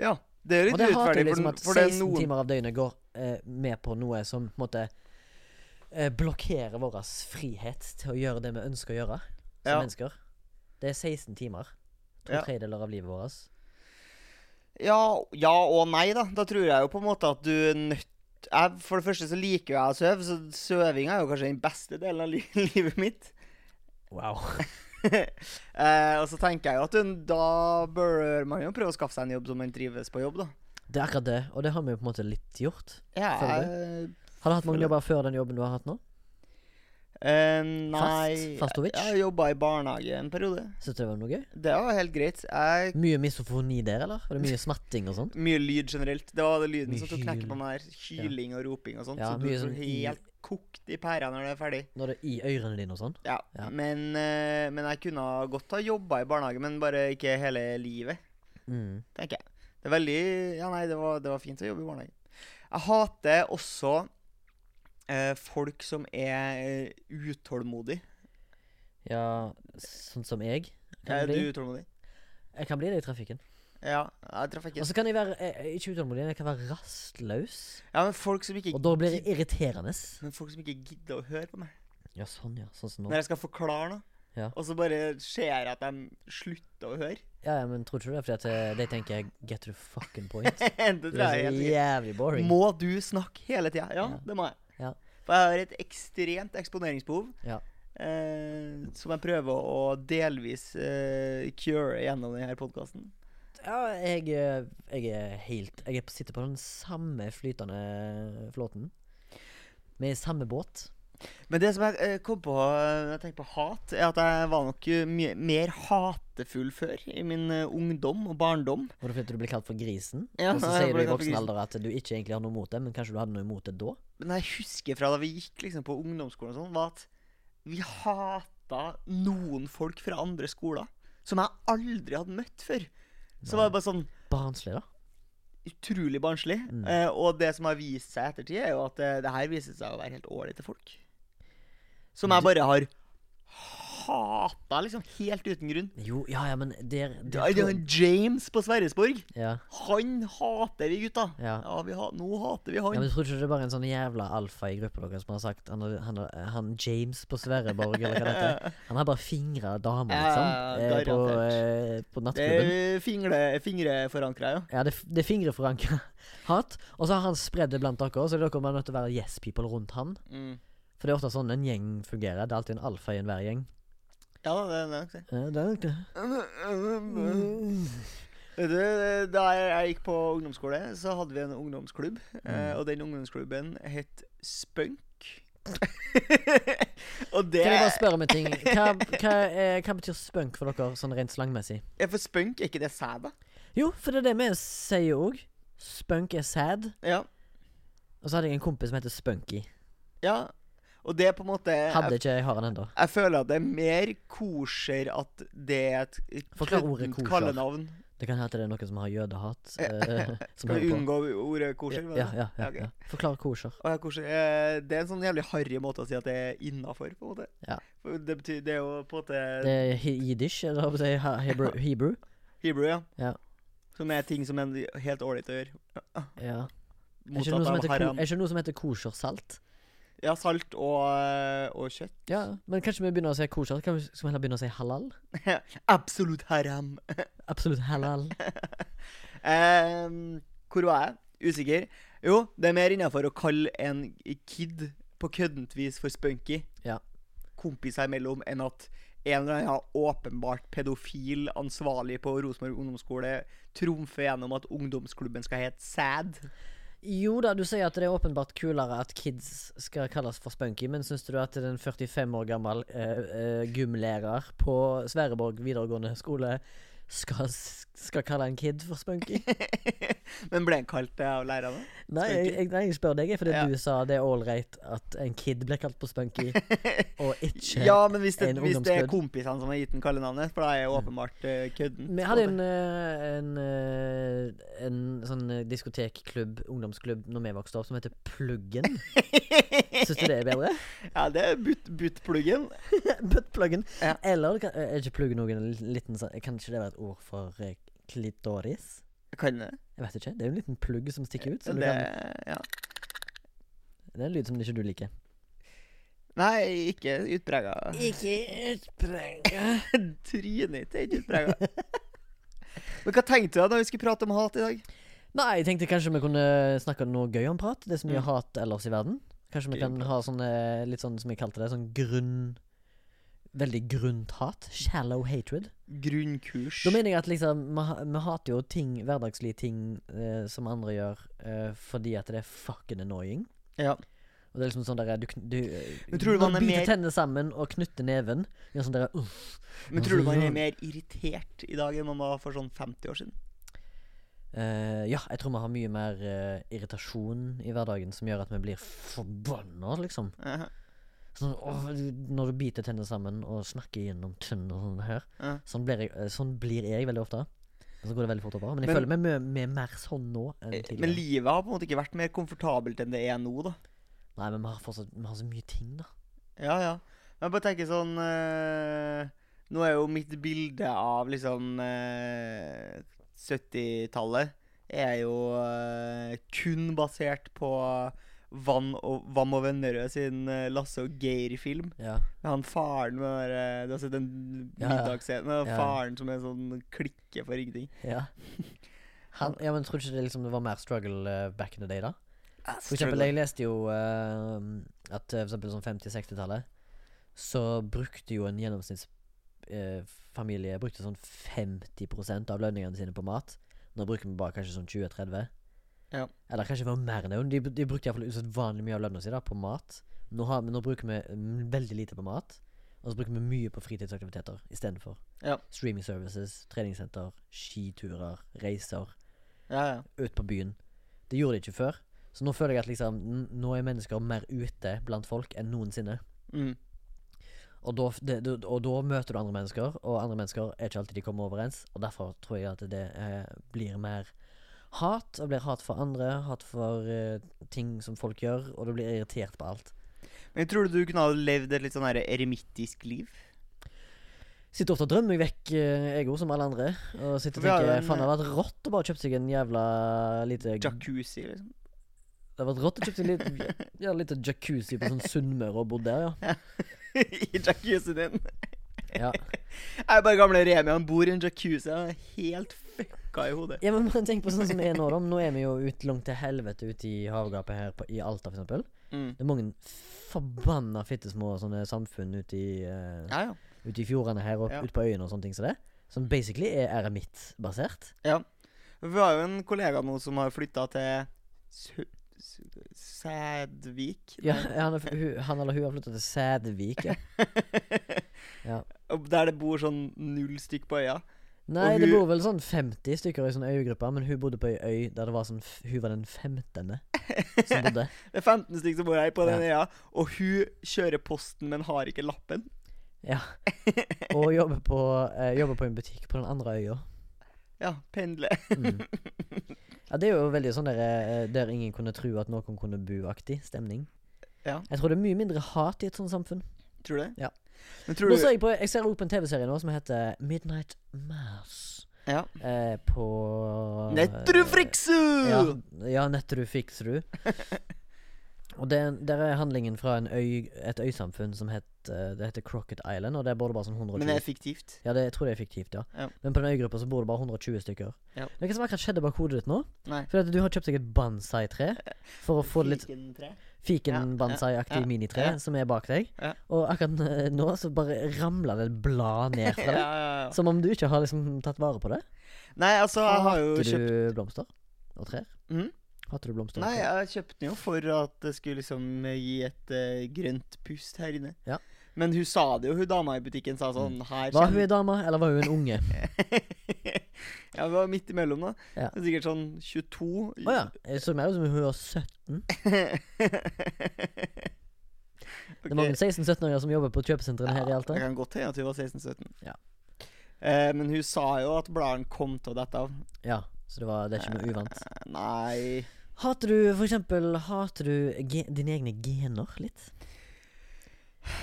Ja. Det er Og litt det hater urettferdig, jeg liksom for, at for det er 16 noen timer av døgnet går eh, med på noe som på en måte eh, blokkerer vår frihet til å gjøre det vi ønsker å gjøre som Ja. mennesker. Det er 16 timer. To Ja. tredjedeler av livet vårt. Ja, ja og nei, da. Da tror jeg jo på en måte at du er nødt jeg, For det første så liker jo jeg å sove, så søving er jo kanskje den beste delen av li livet mitt. Wow. Eh, og så tenker jeg jo at du, da bør man jo prøve å skaffe seg en jobb som man trives på jobb, da. Det er akkurat det, og det har vi jo på en måte litt gjort. Ja, Føler jeg, Har du hatt mange Føler- jobber før den jobben du har hatt nå? eh, nei Fast? Fastovic? Jeg jobba i barnehage en periode. Syns du det var noe gøy? Det var helt greit. Jeg, Mye misofoni der, eller? Var det mye smatting og sånn? mye lyd generelt. Det var det lyden Mye som tok knekken hyl. på meg her. Hyling og roping og sånt. Ja, så du mye blir sånn i- helt kokt i pæra når det er ferdig. Når det er i ørene dine og sånn? Ja, Ja. Men, eh, men jeg kunne ha godt ha jobba i barnehage, men bare ikke hele livet, Mm. tenker jeg. Det er veldig Ja, nei, det var, det var fint å jobbe i barnehage. Jeg hater også eh, folk som er eh, utålmodig. Ja, sånn som jeg. Er Kan du bli. utålmodig? Jeg kan bli det i trafikken. Ja, jeg traff Og ikke så kan jeg være jeg, jeg er ikke utålmodig, jeg kan være rastløs. Ja, men folk som ikke Og da blir det irriterende. Men folk som ikke gidder å høre på meg. Ja, sånn, ja. Sånn som nå. Når jeg skal forklare noe, Ja. og så bare ser jeg at de slutter å høre. Ja, ja, men tror ikke du det er fordi at eh, de tenker 'get to the fucking point'? det tror Det er jeg så er helt sikkert. jævlig boring. Må du snakke hele tida? Ja, Ja. det må jeg. Ja. For jeg har et ekstremt eksponeringsbehov. Ja. Eh, som jeg prøver å delvis eh, cure gjennom denne podkasten. Ja, jeg, eh, jeg er helt Jeg er- sitter på den samme flytende flåten. Vi er i samme båt. Men det som jeg eh, kom på eh, når jeg tenker på hat, er at jeg var nok eh, mye mer hatefull før. I min eh, ungdom og barndom. Var det fordi du ble kalt for grisen? Ja, og så jeg sier du ble i kalt for voksen grisen. alder at du ikke egentlig har noe imot det, men kanskje du hadde noe imot det da? Men jeg husker fra da vi gikk liksom på ungdomsskolen og sånn, var at vi hata noen folk fra andre skoler som jeg aldri hadde møtt før. Så var det bare sånn Barnslig, da. utrolig barnslig. Mm. Eh, og det som har vist seg i ettertid, er jo at eh, det her viser seg å være helt ålreite folk. Som jeg bare har hata, liksom, helt uten grunn. Jo, ja, ja, men der, Det der er jo en James på Sverresborg. ja. Han hater vi, gutta. Ja. vi ha, nå hater vi Ja, han. men Tror ikke det er bare en sånn jævla alfa i gruppa deres som har sagt Han, har- han, har- han James på Sverreborg eller hva det heter, han har bare fingra damer, liksom. Ja, eh, på, garantert. eh, på Det nattklubben. er fingre, fingreforankra, ja. Ja, det, det er fingreforankra hat. Og så har han spredd det blant dere, så dere er nødt til å være yes people rundt han. Mm. For det er ofte sånn en gjeng fungerer. Det er alltid en alfa i enhver gjeng. Ja, det er nok det. Eh, Det er nok det. Mm. Vet du, da jeg gikk på ungdomsskole, så hadde vi en ungdomsklubb. Mm. eh, Og den ungdomsklubben het Spunk. og det Kan jeg bare spørre om en ting? Hva, hva, eh, hva betyr spunk for dere, sånn rent slangmessig? Ja, For spunk, er ikke det sæd, da? Jo, for det er det vi sier òg. Spunk er sad. Ja. Og så hadde jeg en kompis som heter Spunky. ja. Og det er på en måte Hadde jeg, ikke jeg har han ennå. jeg føler at det er mer kosher at det er et Forklar ordet køddent kosher. kallenavn. Det kan hende at det er noen som har jødehat. eh, som Skal vi hører på. unngå ordet kosher? var det Ja, det? ja, ja, ok. ja. Forklar kosher. Å ja, kosher. Eh, Det er en sånn jævlig harry måte å si at det er innafor, på en måte. Ja. For Det betyr Det er jo på en måte Det er hi- jiddisch, eller hva sier jeg? Hebrew? Hebrew? Hebrew, ja. Ja. Som er ting som er helt ålreit å gjøre. Ja. Er ikke, Motsatt noe som av heter ko- haram. er ikke noe som heter koshersalt? Ja, salt og, eh, og kjøtt. Ja, men kanskje vi begynner å si kosher? Kan vi skal vi heller begynne å si halal? Absolutt haram. Absolutt halal. Em, Ehm, hvor var jeg? Usikker. Jo, det er mer innafor å kalle en kid på køddent vis for spunky. Ja. Kompis her mellom enn at en eller annen åpenbart pedofil ansvarlig på Rosenborg ungdomsskole trumfer gjennom at ungdomsklubben skal hete SAD. Jo da, du sier at det er åpenbart kulere at kids skal kalles for spunky, men syns du at en 45 år gammel eh, eh, gymlærer på Sverreborg videregående skole skal, skal kalle en kid for spunky? Men ble han kalt det av lærerne? Nei, jeg, Spunky? jeg, nei, jeg spør deg, jeg, fordi Ja. du sa det er ålreit at en kid blir kalt for spunky, og ikke Ja, men hvis det, en hvis det er ungdomsklubb. kompisene som har gitt den kallenavnet, for da er jeg åpenbart eh, kødden. Vi hadde en, eh, en, eh, en sånn eh, diskotekklubb, ungdomsklubb, når vi vokste opp, som heter Pluggen. Syns du det er bedre? Ja, det er butt- buttpluggen. Buttpluggen. Ja. Eller kan- eh, er ikke pluggen noe en liten sånn Kan ikke det være et ord for eh, klitoris? Kan det? Jeg vet ikke. Det er jo en liten plugg som stikker ut. Som det det... Kan, ja. det er en lyd som ikke du liker. Nei, ikke utprega. Ikke utprega. Trynet ditt er ikke utprega. Men hva tenkte du da vi skulle prate om hat i dag? Nei, jeg tenkte kanskje vi kunne snakke om noe gøy om prat. Det er så Mm. mye hat ellers i verden. Kanskje vi Gøy om kan ha sånne litt sånn som jeg kalte det, sånn grunn Veldig grunt hat. Shallow hatred. Grunnkurs. Da mener jeg at liksom, vi, ha- vi hater jo ting, hverdagslige ting eh, som andre gjør, eh, fordi at det er fucking annoying. Ja. Og det er liksom sånn der, du, kn- du, Men tror du man man er biter mer- tennene sammen og knytter neven. Gjør sånn der, uff. Men tror du man er mer irritert i dag enn man var for sånn 50 år siden? Eh, ja, jeg tror vi har mye mer eh, irritasjon i hverdagen som gjør at vi blir forbanna, liksom. Aha. Sånn, åh, du- når du biter tennene sammen og snakker gjennom tønn og sånn her. Ja. Sånn, blir jeg, eh, sånn blir jeg veldig ofte. Og så går det veldig fort over. Men jeg Men- Eh, føler meg mye- mye mer sånn nå enn tidligere. Men livet har på en måte ikke vært mer komfortabelt enn det er nå, da. Nei, men vi har fortsatt vi har så mye ting, da. Ja, ja. Men jeg bare tenker sånn eh, Nå er jo mitt bilde av liksom eh, 70-tallet er jo eh, kun basert på Vann og, Vam og Vennerød sin eh, Lasse og Geir-film. Ja. Med Han faren med den der, eh, Du har sett den Ja, ja. middagsscenen med Ja, ja. faren som er sånn klikke for ingenting. ja. Han, ja, men tror du ikke det, liksom, det var mer struggle eh, back in the day, da? For eksempel, Struggle. jeg leste jo eh, at eh, for eksempel sånn 50-60-tallet så brukte jo en eh, gjennomsnittsfamilie brukte sånn 50 av lønningene sine på mat. Nå bruker vi bare kanskje sånn 20-30. Ja. Eller kanskje det var mer enn det. De, de brukte iallfall usedvanlig mye av lønna si da, på mat. Nå, har, men nå bruker vi mm, veldig lite på mat, og så bruker vi mye på fritidsaktiviteter istedenfor. Ja. Streaming services, treningssenter, skiturer, reiser, Ja, ja. ut på byen. Det gjorde de ikke før. Så nå føler jeg at liksom, n- nå er mennesker mer ute blant folk enn noensinne. Mm. Og da, f- det, det, og da møter du andre mennesker, og andre mennesker er ikke alltid de kommer overens. Og derfor tror jeg at det eh, blir mer hat, og blir hat for andre, hat for eh, ting som folk gjør, og du blir irritert på alt. Men tror du du kunne ha levd et litt sånn her eremittisk liv? Sitter ofte og drømmer meg vekk, eh, jeg òg, som alle andre. Og sitter og Vi har jo tenker en, faen, det hadde vært rått å bare kjøpt seg en jævla lite Det Jacuzzi, liksom? hadde vært rått å kjøpt seg en liten, ja, lite jacuzzi på sånn Sunnmøre og bodd der, ja. I jacuzzien din? ja. Jeg er bare gamle Remi, han bor i en jacuzzi. Han er helt fucka i hodet. Ja, men bare tenk på sånn som vi er nå, da. Nå er vi jo ut langt til helvete ute i havgapet her på, i Alta, for eksempel. Mm. Det er mange forbanna fittesmå sånne samfunn ute i, eh, Ja, ja. ute i fjordene her og Ja. ute på øyene og sånne ting som det. Som basically er eremittbasert. Vi har jo en kollega nå som har flytta til Sø Sø Sædvik. Ja, han, er, f- hun- han eller hun har flytta til Sædvik. Ja. Ja. Og Der det bor sånn null stykk på øya. Nei, Og det hun- bor vel sånn 50 stykker i sånn øygruppe, men hun bodde på ei øy der det var sånn f- Hun var den femtende som bodde. Det er 15 stykk som bor her på den øya, og hun kjører posten, men har ikke lappen. Ja. Og jobber på, eh, jobber på en butikk på den andre øya. Ja, pendler. Mm. Ja, det er jo veldig sånn der, eh, der ingen kunne tro at noen kunne bo-aktig stemning. Ja. Jeg tror det er mye mindre hat i et sånt samfunn. Tror du det? Ja. Men tror Nå du ser jeg, på, jeg ser også på en TV-serie nå som heter Midnight Mass. Ja. Eh, på eh, Netru Ja, Friksu! ja Netteru Fiksru. Og det, der er handlingen fra en øy, et øysamfunn som heter, det heter Crocket Island. Og der bor det bare sånn 120 Men det er fiktivt. Ja, det, jeg tror det er fiktivt, ja. Ja. Men på den øygruppa så bor det bare 120 stykker. Ja. Vet du hva som akkurat skjedde bak hodet ditt nå? Nei. Fordi at du har kjøpt deg et bonsai-tre for å få det litt Fikentre. Ja, ja, fiken-bonsai-aktig ja, minitre ja. som er bak deg. Ja. Og akkurat eh, nå så bare ramla det et blad ned fra Ja, deg. ja, ja. Som om du ikke har liksom tatt vare på det. Nei, altså, jeg har jo Hater kjøpt du blomster og trær? Mhm. Hater du blomster? og Nei, trær? jeg kjøpte den jo for at det skulle liksom eh, gi et eh, grønt pust her inne. Ja. Men hun sa det jo, hun dama i butikken sa sånn her Var hun kjenner- ei dame, eller var hun en unge? Ja, vi var midt imellom, da. Ja. Det er Sikkert sånn 22. Å ja. Jeg så mer ut som hun var 17. Det er mange 16-17-åringer som jobber på kjøpesentrene her i Alta. Det kan godt hende at hun var 16-17. Ja. Eh, men hun sa jo at bladene kom til å dette av. Ja, så det, var, det er ikke noe uvant. Eh, Nei Hater du for eksempel Hater du ge dine egne gener litt?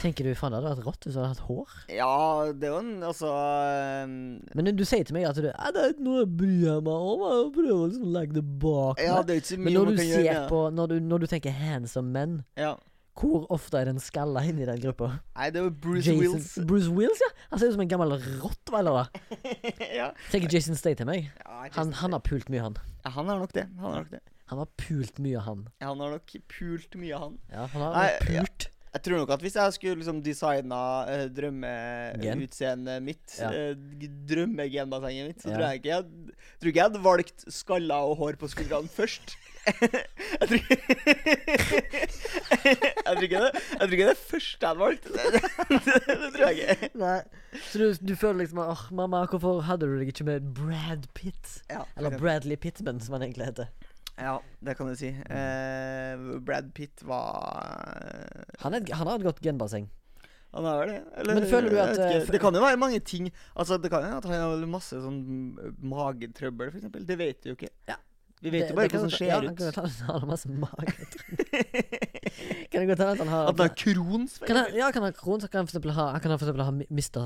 Tenker du faen det hadde vært rått hvis du hadde hatt hår? Ja, det er jo en Altså eh, Men du sier til meg at du «Nei, Det er ikke noe jeg bryr meg om. Jeg prøver liksom å legge det bak Ja, meg. det er jo ikke så Men mye når man du, kan gjøre ser med det. på, når, du, når du tenker 'handsome men', Ja. hvor ofte er den skalla inni den gruppa? Nei, det er jo Bruce Jason- Wills. Bruce Wills, ja. Han ser ut som en gammel rottweiler. da. ja. Tenker Jason Statham, jeg. Ja, Jason Han, han har pult mye, han. Ja, han har nok det. Han har nok det. Han har pult mye, han. Ja, Han har nok pult mye, han. Ja, han har Nei, ja. pult. Jeg tror nok at hvis jeg skulle liksom designa eh, drømmeutseendet mitt, Ja. eh, g- drømmegenbassenget mitt, så Ja. tror jeg ikke jeg hadde- tror ikke jeg hadde valgt skaller og hår på skuldrene først. jeg, tror, jeg, tror ikke det, jeg tror ikke det er første jeg hadde valgt. det, tror jeg ikke. Nei. Så du, du føler liksom at åh, mamma, hvorfor hadde du deg ikke med Brad Pitt? Ja, Eller Bradley Pittman, som han egentlig heter. ja, det kan du si. Eh, Brad Pitt var Han, er, et- han har et godt genbasseng. Han er vel det. Eller, Men føler du jeg at, vet eh, ikke. fø- Det kan jo være mange ting. Altså, det kan jo at han har masse sånn mm, magetrøbbel, for eksempel. Det vet vi jo ikke. Ja. Vi vet Det- jo bare det kan hvordan det godt- ser ja, Han ut. kan godt ha han har masse mage. kan det godt hende at han har At det er krons. for kan han, eksempel. ja, kan han ha kron, så kan han for eksempel ha, han kan ha, for eksempel ha mista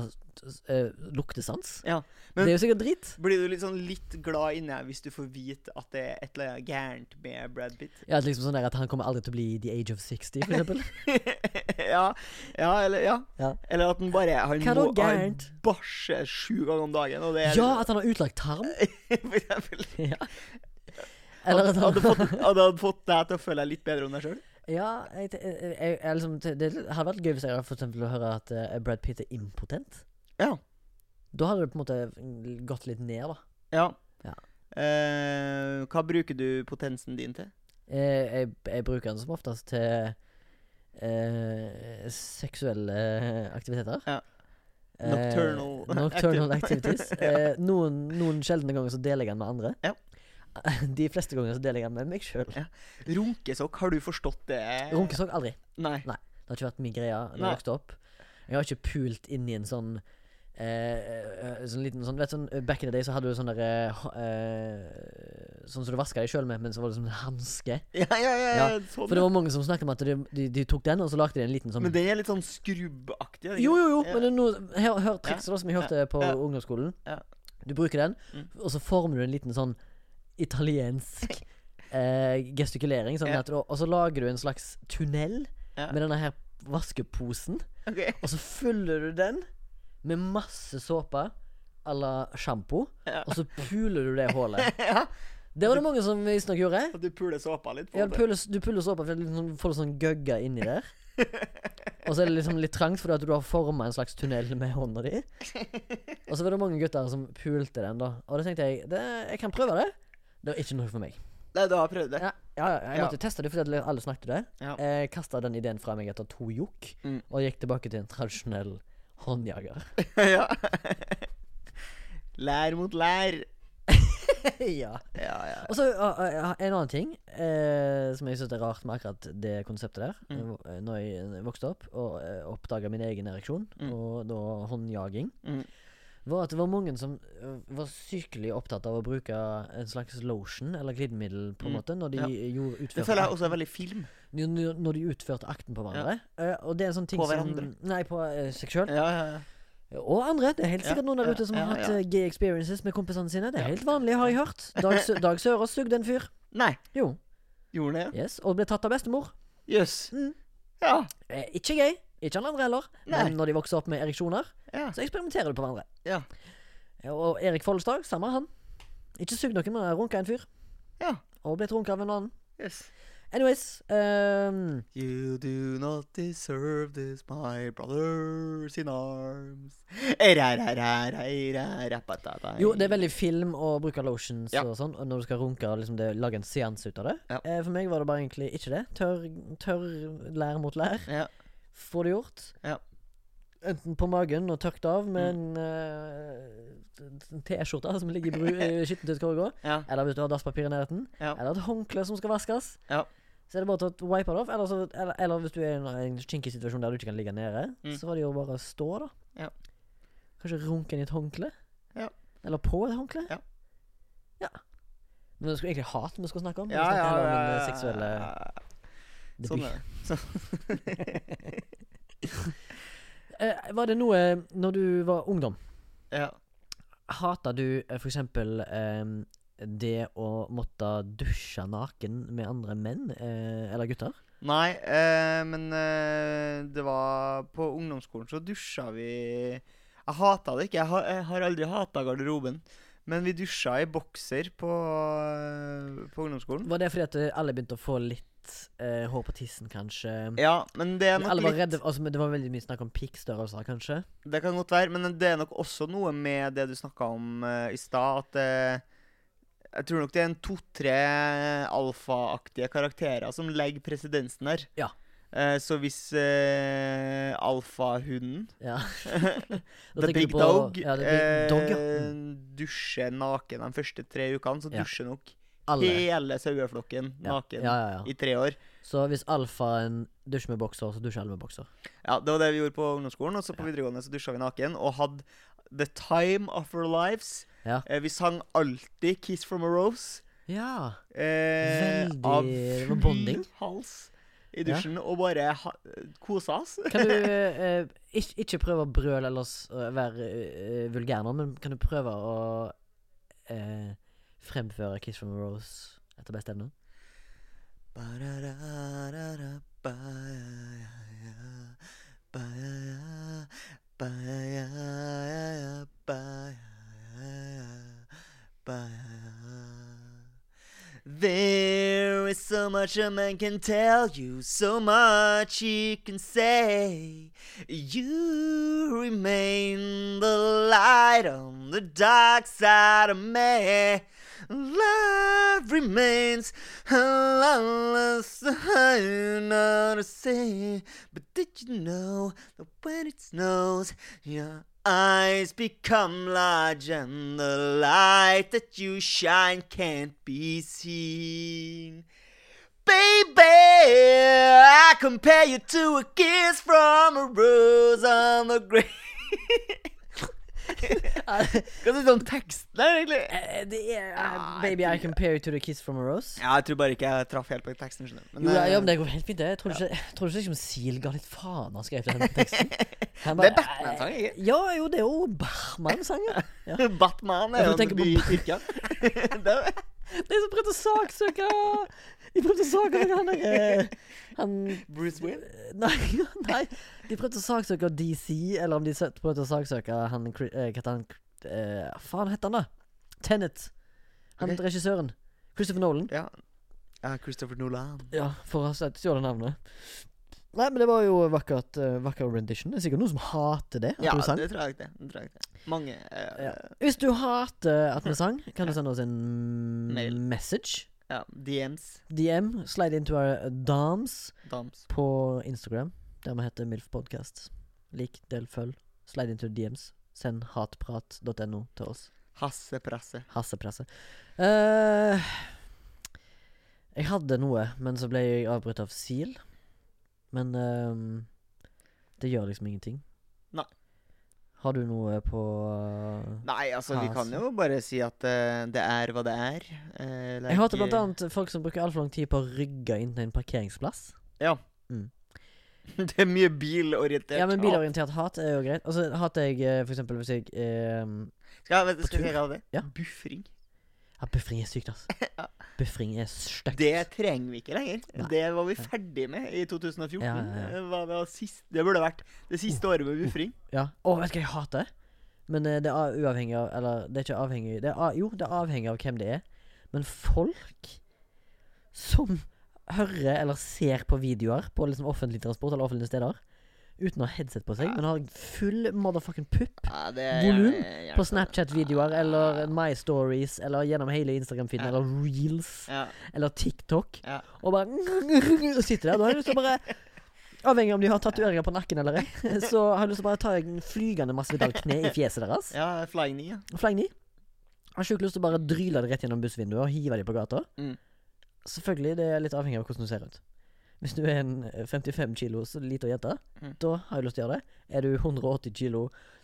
luktesans. Ja. Men- det er jo sikkert drit. Blir du litt sånn litt glad inni deg hvis du får vite at det er et eller annet gærent med Brad Pitt? Ja, liksom sånn der at Han kommer aldri til å bli the age of 60, for eksempel. ja, ja, eller ja. Ja. Eller at han bare Han, Hva er det må- han gærent? bæsjer sju ganger om dagen, og det er ja, at han har utlagt tarm. for eksempel. Ja. Eller at Hadde, han hadde, fått, hadde han fått deg til å føle deg litt bedre om deg sjøl? Ja, jeg, te- jeg, jeg, jeg liksom, te- det hadde vært gøy hvis jeg hadde for eksempel å høre at eh, Brad Pitt er impotent. Ja. Da hadde det på en måte gått litt ned, da. Ja. Ja. Eh, hva bruker du potensen din til? Eh, jeg, jeg bruker den som oftest til eh, seksuelle aktiviteter. Ja. Eh, Nocturnal nocturnal activity. activities. Eh, noen, noen sjeldne ganger så deler jeg den med andre. Ja. De fleste ganger så deler jeg den med meg sjøl. Runkesokk, har du forstått det? Runkesokk aldri. Nei. Det har ikke vært min greie da Nei. jeg vokste opp. Jeg har ikke pult inn i en sånn eh, eh, sånn liten sånn, vet, du, sånn eh, Back in the day så hadde du sånn der eh, ho- eh, Sånn som du vaska deg sjøl med, men så var det sånn hanske. Ja, ja, ja, Ja, sånn. For det var mange som snakket om at de, de, de tok den, og så lagde de en liten sånn Men den er litt sånn skrubbaktig. er det ikke? Jo, jo, jo, Ja. men det er noe, hør, hør trikset da, som jeg hørte på ja. ungdomsskolen. Ja. Du bruker den, Mm. og så former du en liten sånn italiensk eh, gestikulering. Sånn Ja. at, du- og så lager du en slags tunnel Ja. med denne her vaskeposen. Ok. Og så fyller du den med masse såpe à la sjampo, Ja. og så puler du det hullet. Ja, Det var det mange som visstnok gjorde. At du puler såpa litt? på Ja, en du måte. puller, du puller såpa, for det er litt sånn- får du sånn gøgga inni der. Og så er det liksom litt trangt, fordi at du har forma en slags tunnel med hånda di. Og så var det mange gutter som pulte den, da. Og da tenkte jeg det, jeg kan prøve det. Det var ikke noe for meg. Nei, du har prøvd det? Ja, ja, ja, jeg Ja. måtte jo teste det fordi at alle snakket det. Ja. Jeg kasta den ideen fra meg etter to jokk, Mm. og gikk tilbake til en tradisjonell håndjager. ja. Lær mot lær. ja. Ja, ja. Og så uh, uh, en annen ting eh, som jeg syns er rart med akkurat det konseptet der. Mm. eh, Når jeg vokste opp og uh, oppdaga min egen ereksjon, Mm. og da håndjaging, Mm. var at det var mange som eh, var sykelig opptatt av å bruke en slags lotion eller glidemiddel, på en Mm. måte, når de Ja. gjorde Det utførte føler jeg ak- også er veldig film. når når de utførte akten på hverandre. Eh, og det er en sånn ting På som hverandre. Nei, på eh, seg sjøl. Ja, ja, ja. Og andre. Det er helt Ja, sikkert noen der ja, ute som ja, har hatt ja. eh, gay experiences med kompisene sine. Det er Ja. helt vanlig, har jeg hørt. Dag, Sø- Dag Sørås sugde en fyr. Nei, Jo. gjorde den det? Yes, og ble tatt av bestemor. ja? Jøss. Mm. Ja. Eh, ikke gøy, ikke han andre heller, Nei. men når de vokser opp med ereksjoner, ja. så eksperimenterer de på hverandre. Ja. Ja, Og Erik Follestad, samme han. Ikke sugd noen, men runka en fyr. Ja. Og blitt runka av en annen. Jøss. Anyways ehm, You do not deserve this, my brothers in arms. Erarararararapatata. Jo, det er veldig film å bruke lotions Ja. og sånn og når du skal runke og liksom det, lage en seanse ut av det. Ja. Eh, for meg var det bare egentlig ikke det. Tørr, tørr lær mot lær. Ja. Få det gjort. Ja. Enten på magen og tørkt av med en eh, T-skjorte som ligger i bru- i skittentøyskorga, Ja. eller hvis du har dasspapir i nærheten, Ja. eller et håndkle som skal vaskes. Ja. Så er det bare til å wipe det off, eller, så, eller, eller hvis du er i en, en kinkig situasjon der du ikke kan ligge nede, Mm. så var det jo bare å stå, da. Ja. Kanskje runke inn i et håndkle? Ja. Eller på et håndkle? Ja. Ja. Men det skulle egentlig hat vi skulle snakke om. men Ja, vi ja, snakker heller om ja, min ja, eh, seksuelle ja, ja. debut. Sånn er det. Sånn, Eh, var det noe når du var ungdom Ja. Hata du eh, for eksempel eh, det å måtte dusje naken med andre menn eh, eller gutter? Nei, eh, men eh, det var På ungdomsskolen så dusja vi Jeg hata det ikke. Jeg, ha, jeg har aldri hata garderoben. Men vi dusja i bokser på, eh, på ungdomsskolen. Var det fordi at eh, alle begynte å få litt eh, hår på tissen, kanskje? Ja, men det er nok Alle var litt redde, altså, Mm. men Det var veldig mye snakk om pikkstørrelser, kanskje? Det kan godt være, men det er nok også noe med det du snakka om eh, i stad, at eh, jeg tror nok det er en to-tre alfaaktige karakterer som legger presedensen her. Ja. Eh, så hvis eh, alfahunden Ja. Da The tenker du Big på- Dog, Ja, the big dog ja. eh, Mm. dusjer naken de første tre ukene, så Ja. dusjer nok Alle. hele saueflokken Ja. naken Ja, ja, ja. i tre år. Så hvis alfaen dusjer med bokser, så dusjer alle med bokser. Ja, Det var det vi gjorde på ungdomsskolen. Og så på videregående så dusja vi naken og hadde the time of our lives. Ja. Eh, vi sang alltid 'Kiss from a Rose' Ja. eh, Veldig- av det var full bonding. hals i Ja. dusjen og bare ha, kosa oss. Kan du eh, ikke, ikke prøve å brøle eller s- å være eh, vulgær nå, men kan du prøve å eh, fremføre 'Kiss from a Rose' etter beste evne? There is so much a man can tell you, so much he can say. You remain the light on the dark side of me. Love remains lawless, higher not to say. But did you know that when it snows, your eyes become large and the light that you shine can't be seen? Baby, I compare you to a kiss from a rose on the grave. Hva syns du om teksten der, egentlig? Eh, Det er eh, Ah, Baby, I compare you to the kiss from a rose. Ja, jeg tror bare ikke jeg traff helt på teksten. skjønner du. Men, Jo, ja, eh, ja, men det går helt fint, det. Jeg tror ikke, jeg tror ikke liksom Seal ga litt faen da han skrev den teksten. Han bare, Det er altså. Batman-sang, ikke? eh, Ja, jo, det er jo Barman-sang. ja. Ja. Batman Jeg er jo får tenke en by på i kirka. Det er det. Det er som prøvde å saksøke De prøvde å saksøke han der Han eh, Bruce Wayne. Nei, nei. De prøvde å saksøke DC, eller om de sø- prøvde å saksøke han Cri- eh, Hva heter han eh, Faen, heter han da? Tenet. Han Ok. regissøren. Christopher Nolan. Ja. ja, Christopher Nolan. Ja, for å ha sett- stjålet navnet. Nei, men det var jo vakkert eh, vakker rendition. Det er sikkert noen som hater det. At Ja, du sang. det tror jeg ikke det. det, tror jeg ikke det. Mange eh, Ja. Hvis du hater at vi sang, kan du sende oss en Mail. message. ja, DMs. DM. Slide into our dams. Dams. på Instagram, der vi heter MILFpodcast. Lik, del, følg. Slide into DMs. Send hatprat.no til oss. Hassepresse. Hassepresse. Eh, jeg hadde noe, men så ble jeg avbrutt av SIL. Men eh, det gjør liksom ingenting. Nei. Har du noe på eh, Nei, altså, vi kan Hasse. jo bare si at eh, det er hva det er. Eh, det er Jeg hater ikke- blant annet folk som bruker altfor lang tid på å rygge inn til en parkeringsplass. Det er mye bilorientert. Ja, men hat. Bilorientert hat er jo greit. Og så hater jeg eh, for eksempel hvis jeg eh, Skal jeg, vet, På skal jeg tur. kalle det Ja. buffring? Ja, buffring er sykt, ass. Ja. Buffring er stygt. Det trenger vi ikke lenger. Nei. Det var vi ferdig med i 2014. Ja, ja, ja. Det var- det var sist, det burde vært det siste året med buffring. Ja. Å, vet du hva jeg hater? Men eh, det er av- uavhengig av Eller det er ikke avhengig det er, av- Jo, det er avhengig av hvem det er. Men folk som hører eller ser på videoer på liksom offentlig transport eller offentlige steder uten å ha headset på seg, men har full motherfucking pupp Ja, det er- Volum jeg- jeg- på Snapchat-videoer eller My Stories eller gjennom hele Instagram-feeden Ja. eller Reels Ja. eller TikTok Ja. og bare sitter der. Da har jeg lyst til å bare Avhengig av om de har tatoveringer på nakken eller ei, så har jeg lyst til å bare ta en flygende massevidal-kne i fjeset deres. ja, flying knee. Ja. Fleng de. Har sjukt lyst til å bare dryle det rett gjennom bussvinduet og hive de på gata. Mm. Selvfølgelig, det er litt avhengig av hvordan du ser ut. Hvis du er en eh, 55 kilos lita jente, Mm. da har jeg lyst til å gjøre det. Er du 180 kilo,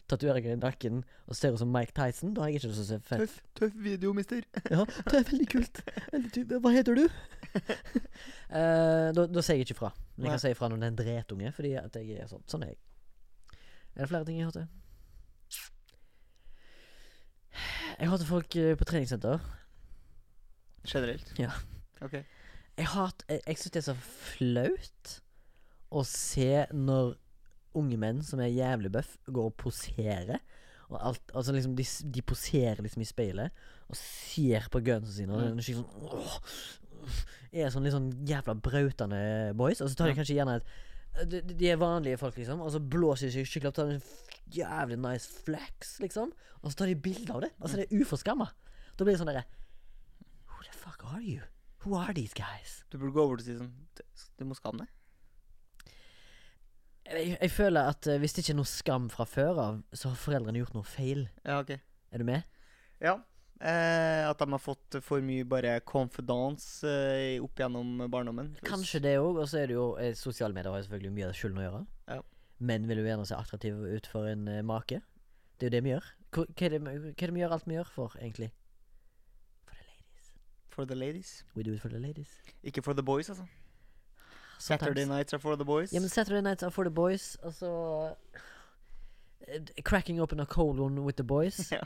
tatoveringer i nakken og ser ut som Mike Tyson, da har jeg ikke lyst til å se fett Tøff, tøff video, mister. ja, det er veldig kult. Veldig ty- Hva heter du? Eh, da, da sier jeg ikke fra. Men jeg Nei. kan si ifra når det er en dretunge, fordi at jeg er sånn. Sånn er jeg. Er det flere ting jeg hater? Jeg hater folk eh, på treningssenter. Generelt. Ja. Ok. Jeg, hat- jeg, jeg syns det er så flaut å se når unge menn som er jævlig bøff, går og poserer. Og alt, altså liksom de, s- de poserer liksom i speilet og ser på gunsene sine. Og Mm. mm. sånn, åh, er sånn litt sånn jævla brautende boys. Og så tar de Ja. kanskje gjerne et de, de- de er vanlige folk, liksom, og så blåser de seg skikkelig opp. Tar en f- jævlig nice flex, liksom. Og så tar de bilder av det. Altså, det er uforskamma. Da blir det sånn derre Who the fuck are you? Who are these guys? Du burde gå over til å si sånn "Du- Du må skamme deg. Jeg, jeg føler at eh, hvis det ikke er noe skam fra før av, så har foreldrene gjort noe feil. Ja, ok. Er du med? Ja. Eh, at de har fått for mye bare confidence eh, opp gjennom barndommen. Kanskje det òg, og så er det jo eh, Sosiale medier har jo selvfølgelig mye av skylden å gjøre. Ja. Menn vil jo gjerne se attraktive ut for en eh, make. Det er jo det vi gjør. Hva, hva, er det, hva er det vi gjør alt vi gjør for, egentlig? For the ladies. For the ladies. We do it for the ladies. Ikke for the boys, altså. Ah, Saturday Sometimes. nights are for the boys. Ja, men Saturday Nights are for the boys, og så eh, Cracking open a cold one with the boys. Ja.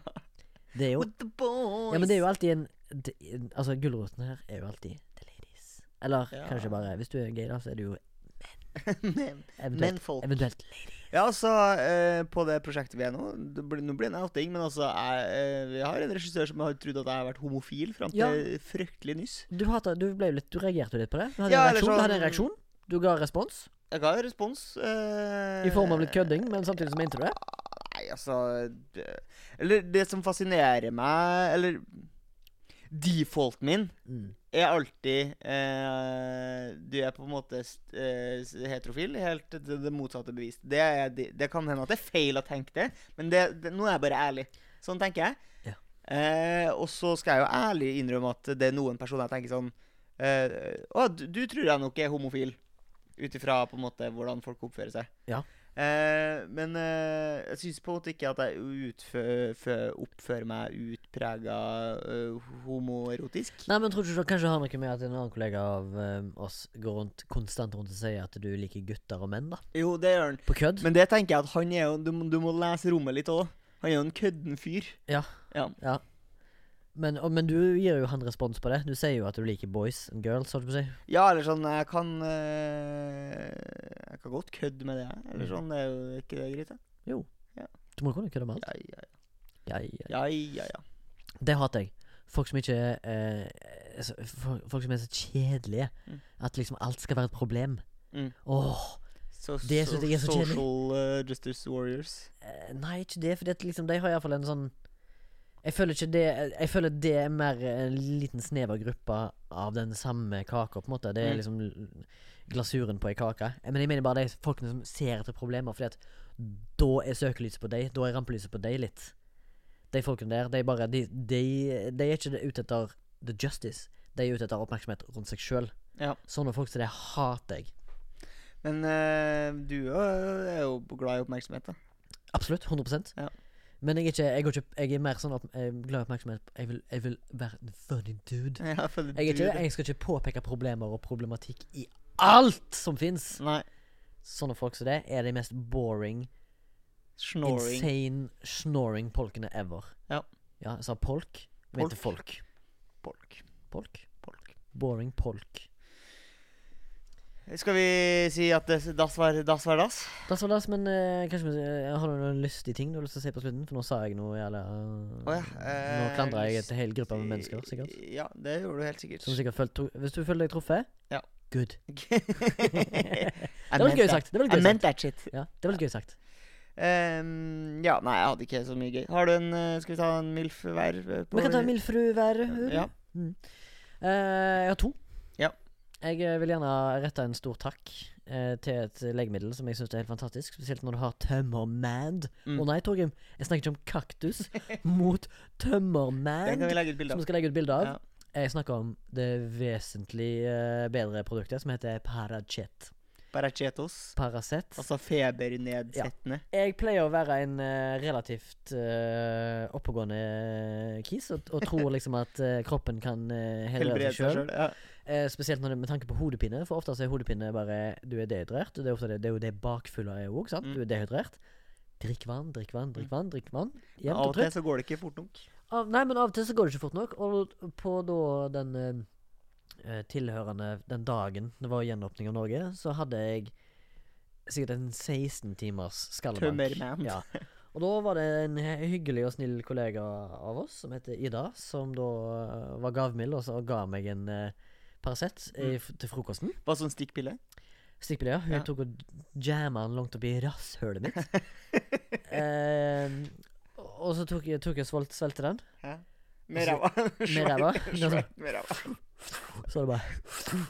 Det er jo With the boys. Ja, men det er jo alltid en det, Altså, gulroten her er jo alltid the ladies. Eller Ja. kanskje bare Hvis du er gay, da, så er du jo Men- eventuelt, Menfolk. eventuelt Ja, altså, eh, på det prosjektet vi er nå det blir, Nå blir det en outing, men altså jeg, eh, Vi har en regissør som har trodd at jeg har vært homofil fram til Ja. fryktelig nyss. Du hater, du ble jo litt Du reagerte jo litt på det. Du hadde, Ja, en, eller reaksjon, du hadde sånn- en reaksjon. Du ga respons Jeg ga jo respons. Eh, i form av litt kødding, men samtidig så mente du det. Nei, altså det, Eller det som fascinerer meg Eller Defaulten min Mm. er alltid eh, Du er på en måte st- eh, s- heterofil. Helt til det, det motsatte bevis. Det, er, de- det kan hende at det er feil å tenke det, men det, det, nå er jeg bare ærlig. Sånn tenker jeg. Ja. Eh, og så skal jeg jo ærlig innrømme at det er noen personer jeg tenker sånn eh, Å, du, du tror jeg nok er homofil. Ut ifra på en måte hvordan folk oppfører seg. Ja. Eh, men eh, jeg syns på en måte ikke at jeg utfø- fø- oppfører meg utprega eh, homoerotisk. Nei, men tror du ikke det kanskje har noe med at en annen kollega av eh, oss går rundt konstant rundt og sier at du liker gutter og menn, da? Jo, det gjør han. På kødd? Men det tenker jeg at han er jo Du, må- du må lese rommet litt òg. Han er jo en kødden fyr. ja. Men, og, men du gir jo han respons på det. Du sier jo at du liker boys and girls, holdt jeg på å si. Ja, eller sånn Jeg kan eh, Jeg kan godt kødde med det, jeg. Eller sånn. Det er jo ikke det greit, det? Du må kunne kødde med alt. Ja, ja, Ja, ja. ja. ja, ja. Det hater jeg. Folk som ikke er eh, altså, fo- Folk som er så kjedelige Mm. at liksom alt skal være et problem. Mm. Åh, So, Det synes jeg er så kjedelig. Social eh, Justice Warriors. eh, Nei, ikke det, for liksom, de har iallfall en sånn jeg føler, ikke det, jeg føler det er mer en liten snever gruppe av den samme kaka, på en måte. Det er Mm. liksom l- glasuren på ei kake. Eh, Men jeg mener bare de folkene som ser etter problemer, fordi at da er søkelyset på deg. Da er rampelyset på deg litt. De folkene der, de bare De, de, de er ikke ute etter the justice. De er ute etter oppmerksomhet rundt seg sjøl. Ja. Sånne folk som det hater jeg. Men eh, du er jo- er jo glad i oppmerksomhet, da. Absolutt. 100 Ja. Men jeg er, ikke, jeg, går ikke, jeg er mer sånn opp, jeg er glad i oppmerksomhet. Jeg vil, jeg vil være en funny dude. Ja, for Jeg, er du- ikke, jeg skal ikke påpeke problemer og problematikk i alt som fins. Nei. Sånne folk som det er de mest boring, Snoring. insane, snoring polkene ever. Ja. ja jeg sa polk. Jeg mente folk. Folk. Polk. Folk. Boring polk. Skal vi si at det- dass var dass? Var dass? Da så Lars, men eh, kanskje vi, eh, har du noen lystige ting du har lyst til å si på slutten? For nå sa jeg noe jævla Å ja, Nå eh, klandra jeg lyst- en hel gruppe med mennesker, sikkert. Ja, det gjorde du helt sikkert. Som sikkert følte, Hvis du føler deg truffet Ja. Good. det Det var litt gøy sagt. Det var litt I gøy sagt. meant that shit. Ja, det var litt gøy sagt. Ehm, ja, nei, jeg hadde ikke så mye gøy. Har du en eh, Skal vi ta en MILF hver? eh, på- Vi kan ta en mildfru hver. Uri. Ja. Eh, jeg har to. Ja. Jeg eh, vil gjerne rette en stor takk eh, til et legemiddel som jeg syns er helt fantastisk. Spesielt når du har tømmermand. Å Mm. nei, Torgrim. Jeg snakker ikke om kaktus mot Den kan vi tømmermand. legge ut bilde Som av. vi skal legge ut bilde av. Ja. Jeg snakker om det vesentlig eh, bedre produktet, som heter Paracet. Paracetos. Paracet. Altså febernedsettende. Jeg pleier å være en eh, relativt eh, oppegående eh, kis, og, og tror liksom at eh, kroppen kan eh, helbrede Helbrede seg sjøl. selv, Ja. Eh, spesielt når det, med tanke på hodepine, for ofte så er hodepine bare du er dehydrert. og Det er, ofte det, det er jo det bakfylla er òg, sant. Mm. Du er dehydrert. Drikk vann, drikk vann, drikk vann. drikk vann Men Jevnt Av og og til trutt. så går det ikke fort nok. Av, nei, men av og til så går det ikke fort nok. Og på da den eh, eh, tilhørende den dagen det var gjenåpning av Norge, så hadde jeg sikkert en 16 timers skallebank. Tømmermann. Ja. Og da var det en hy- hyggelig og snill kollega av oss som heter Ida, som da eh, var gavmild og så ga meg en eh, Paracet i f- til frokosten. Bare sånn stikkpille. Stikkpille, ja. Hun Ja. tok og jamma den langt oppi rasshølet mitt. eh, og så tok jeg, tok jeg og svol- svelgte den. Ja. Med ræva. Med ræva. Svart Med ræva. Så var det bare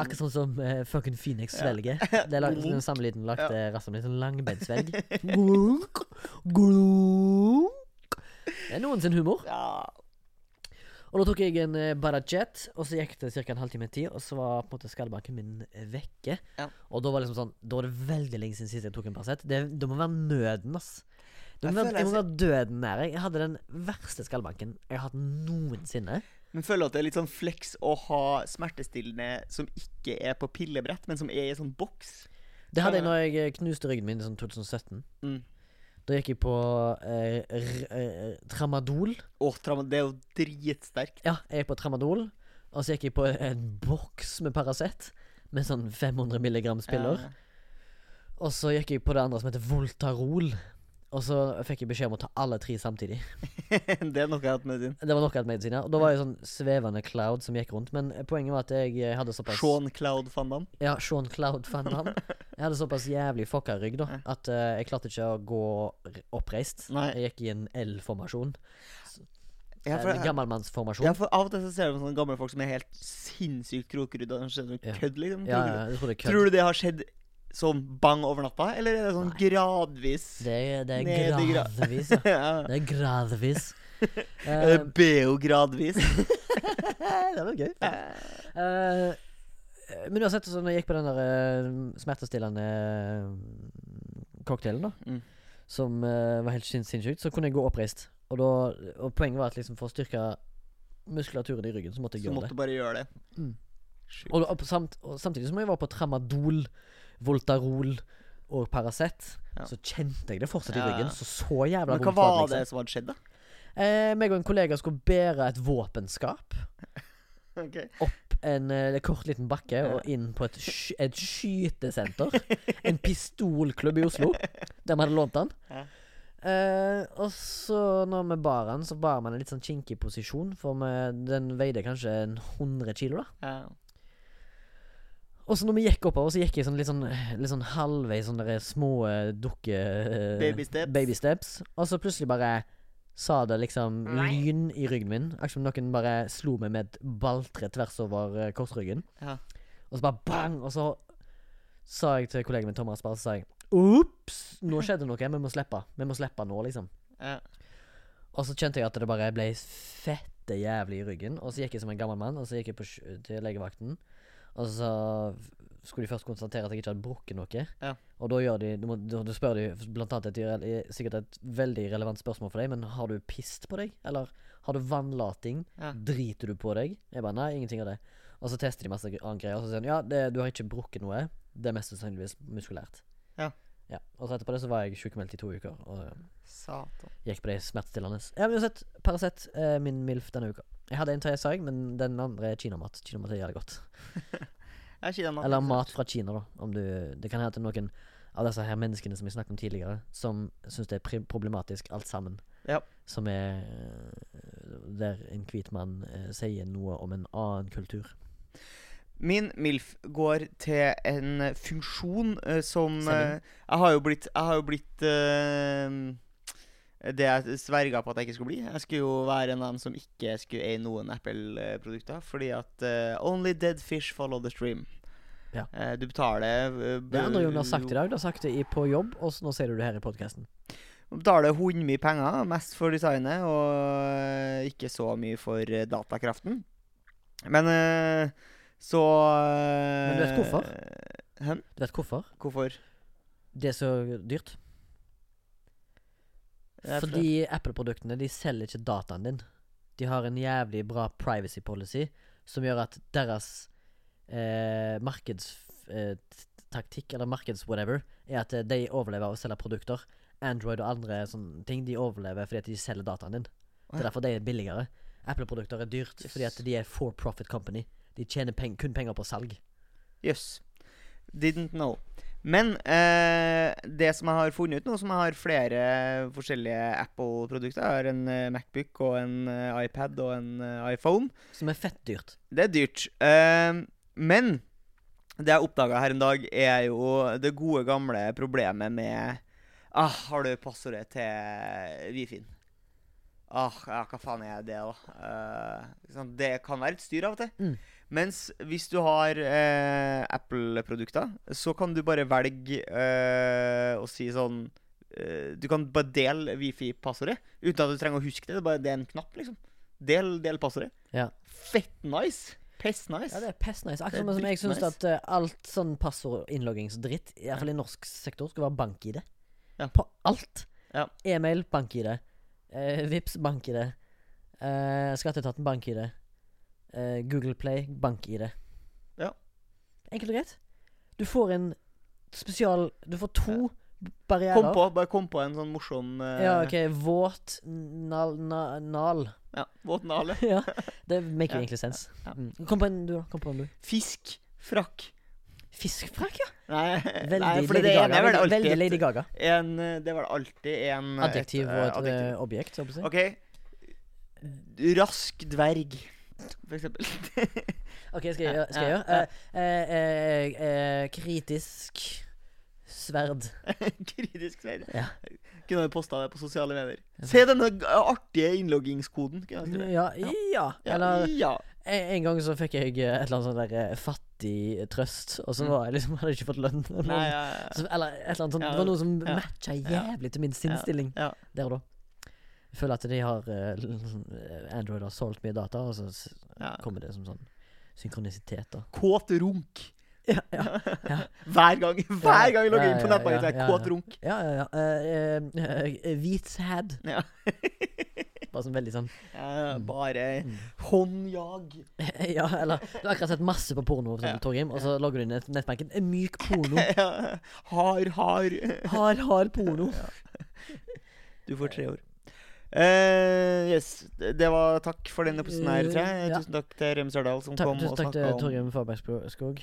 Akkurat sånn som eh, fucking Phoenix svelger. Det er lag- den samme lyden lagt ja. rasshølet mitt. Sånn langbeint-svelg. Glunk, glunk. Det er noen sin humor. Ja. Og da tok jeg en eh, Badajet, og så gikk det ca. en halvtime til, og så var på en måte skallebanken min eh, vekke. Ja. Og da var liksom sånn Da var det veldig lenge siden sist jeg tok en Paracet. Det, det må være nøden, ass. Det Jeg må være, føler altså jeg må jeg være døden nær. Jeg hadde den verste skallebanken jeg har hatt noensinne. Men føler at det er litt sånn flex å ha smertestillende som ikke er på pillebrett, men som er i sånn boks. Det hadde jeg Skjønner når jeg eh, knuste ryggen min i sånn 2017. Mm. Da gikk jeg på eh, r eh, tramadol. Å, tram- det er jo dritsterkt. Ja, jeg gikk på tramadol. Og så gikk jeg på en boks med Paracet, med sånn 500 milligrams piller. Ja. Og så gikk jeg på det andre som heter Voltarol. Og så fikk jeg beskjed om å ta alle tre samtidig. det er noe jeg har hatt med din. Det var nok av medisin, ja. Og da var jeg sånn svevende cloud som gikk rundt. Men poenget var at jeg eh, hadde såpass Sean Cloud van Damme. Ja, Sean Cloud fant han. Jeg hadde såpass jævlig fucka rygg da at eh, jeg klarte ikke å gå r- oppreist. Nei. Jeg gikk i en L-formasjon. Ja, for, Eh, En gammelmannsformasjon. ja, for av og til så ser du sånne gamle folk som er helt sinnssykt krokrydda. De ser ut som Ja. kødd, liksom. Ja, Krokrydda. ja, jeg tror det er kødd. Tror du det har skjedd sånn bang over natta, eller er det sånn Nei. gradvis? Det er, det Ned er i gra- gradvis, ja. ja. Det er gradvis. Er det Eh, BO gradvis? det var gøy. Eh, men uansett, så når jeg gikk på den der eh, smertestillende eh, cocktailen, da, Mm. som eh, var helt sin- sinnssykt, så kunne jeg gå oppreist. Og, da, og poenget var at liksom for å styrke muskulaturen i ryggen, så måtte jeg Så gjøre måtte du bare gjøre det. Mm. Sjukt. det. Og, og, på samt, og samtidig som jeg var på tramadol, voltarol og Paracet, Ja. så kjente jeg det fortsatt i Ja, ja. ryggen. Så så jævla Men hva vondt var var det, det liksom. som hadde skjedd, da? Eh, meg og en kollega skulle bære et våpenskap. Ok. opp en eh, kort liten bakke Ja. og inn på et, sky et skytesenter. En pistolklubb i Oslo. De hadde lånt den. Ja. Eh, og så når vi bar den, så bar vi den i litt sånn kinkig posisjon, for vi, den veide kanskje en 100 kilo. da Ja. Og så når vi gikk oppover, så gikk jeg sånn litt sånn, litt sånn halvveis sånne der små eh, dukke... eh, Baby steps. baby steps. Og så plutselig bare sa det liksom lyn i ryggen min. Akkurat som noen bare slo meg med et balltre tvers over eh, korsryggen. Ja. Og så bare bang! Og så sa jeg til kollegaen min Thomas bare så sa jeg Ops! Nå skjedde noe. Vi må slippe. Vi må slippe nå, liksom. Ja. Og så kjente jeg at det bare ble fette jævlig i ryggen. Og så gikk jeg som en gammel mann, og så gikk jeg på, sj- til legevakten. Og så skulle de først konstatere at jeg ikke hadde brukket noe. Ja. Og da gjør de du, må, du, du spør de blant annet et, irre- sikkert et veldig relevant spørsmål for deg, men har du pist på deg? Eller har du vannlating? Ja. Driter du på deg? Jeg bare nei, ingenting av det. Og så tester de masse gre- annet greier, og så sier de ja, det, du har ikke brukket noe. Det er mest sannsynligvis muskulært. Ja. ja. Og så etterpå det så var jeg sjukmeldt i to uker. Og, Satan. Gikk på de smertestillende. Ja, men uansett, Paracet, eh, min MILF denne uka. Jeg hadde en til jeg sa, men den andre er kinamat. Kinamat er jævlig godt. Jeg er ikke den mannen. Eller mat fra Kina, da. Om du, det kan hende at det er noen av disse her menneskene som vi snakket om tidligere, som syns det er pri- problematisk alt sammen. Ja. Som er eh, der en hvit mann eh, sier noe om en annen kultur. Min MILF går til en funksjon eh, som Sending. eh, Jeg har jo blitt, jeg har jo blitt eh, det jeg sverga på at jeg ikke skulle bli. Jeg skulle jo være en av dem som ikke skulle eie noen Apple-produkter. Fordi at eh, Only dead fish follow the stream. Ja. Eh, du betaler eh, Det andre Jon har jo- sagt i dag, du har sagt det i, på jobb, og så nå sier du det her i podkasten. Man betaler hundemye penger, mest for designet, og ikke så mye for eh, datakraften. Men eh, så Men du vet hvorfor? eh, Hæ? Du vet hvorfor? Hvorfor? Det er så dyrt. Jeg tror Fordi Apple-produktene de selger ikke dataen din. De har en jævlig bra privacy policy som gjør at deres eh, markedstaktikk, eller markeds-whatever, er at eh, de overlever av å selge produkter. Android og andre sånne ting de overlever fordi at de selger dataen din. Det Åja. er derfor de er billigere. Apple-produkter er dyrt fordi at Yes. de er for profit company. De tjener peng kun penger på salg. Jøss. Didn't know. Men eh, det som jeg har funnet ut nå, som jeg har flere forskjellige Apple-produkter Jeg har en eh, Macbook og en eh, iPad og en eh, iPhone. Som er fett dyrt. Det er dyrt. Eh, men det jeg oppdaga her en dag, er jo det gode, gamle problemet med ah, Har du passordet til Wifin? Ah, ja, hva faen er det, da? Eh, ikke sant? det kan være et styr av og til. Mm. Mens hvis du har eh, Apple-produkter, så kan du bare velge eh, å si sånn eh, Du kan bare dele Wifi-passordet uten at du trenger å huske det. Det er bare det er en knapp, liksom. Del, del passordet. Ja. Fett nice. Pest nice. Ja, det er pestnice. Det er Akkurat som jeg syns dritnice. at eh, alt sånn passord og innloggingsdritt, iallfall i norsk sektor, skal være bank-ID. Ja. På alt. Ja. E-mail, bank-ID. Uh, Vips, bank-ID. Eh, Skatteetaten, bank-ID. Eh, Google Play, bank-ID. Ja. Enkelt og greit. Du får en spesial Du får to barrierer. Kom på, bare kom på en sånn morsom eh, Ja, OK. Våt nal... Na, nal. ja, våt nale. ja. Det maker Ja. egentlig sens. Ja. Mm. Kom på en, du, da. Kom på en, du. Fisk. Frakk. Fiskfrakk, ja. Nei, Veldig nei for Lady det Gaga. ene er vel veldig, alltid veldig Lady et, Gaga. en, eh, Det er vel alltid en eh, Adjektiv eh, og et adjektiv. eh, objekt. holdt jeg på å si. OK. Rask dverg, for eksempel. Ok, skal jeg gjøre? Skal jeg Ja, eh, gjøre? Eh, eh, eh, eh, kritisk sverd. Kritisk sverd. Ja. Kunne du posta det på sosiale medier? Se denne g- artige innloggingskoden. kunne jeg skrevet. Ja, ja. Ja, Mm, Eller ja. en en gang så fikk jeg eh, et eller annet sånn der eh, fattig trøst, og så var jeg liksom, hadde jeg ikke fått lønn. eller Mm. Nei, noe. ja, ja. Så, eller et eller annet sånt. Ja, Det var noe som ja. matcha jævlig til min sinnsstilling ja. der og da. Jeg føler at de har eh, l- Android har solgt mye data, og så s- Ja. kommer det som sånn synkronisitet, da. Kåt runk. Ja, ja, ja. Hver gang Hver gang jeg logger inn på Ja, ja, nettbanken, så er ja, jeg ja, kåt ja. runk. ja, ja, ja. Eh, eh, eh, hvit sæd. Ja. Bare sånn veldig sånn Ja, Eh, Bare Mm. håndjag. Ja, eller Du har akkurat sett masse på porno, for eksempel, Torgrim, og så logger du inn i nett- nettbanken. En myk porno. Ja. Hard, hard. Hard, hard porno. Du får tre år. Eh, yes, det var takk for denne episoden her, tror jeg. Ja. Tusen takk til Rem Sørdal som Takk, kom og tusen takk snakka til om Torgrim Fabergskog.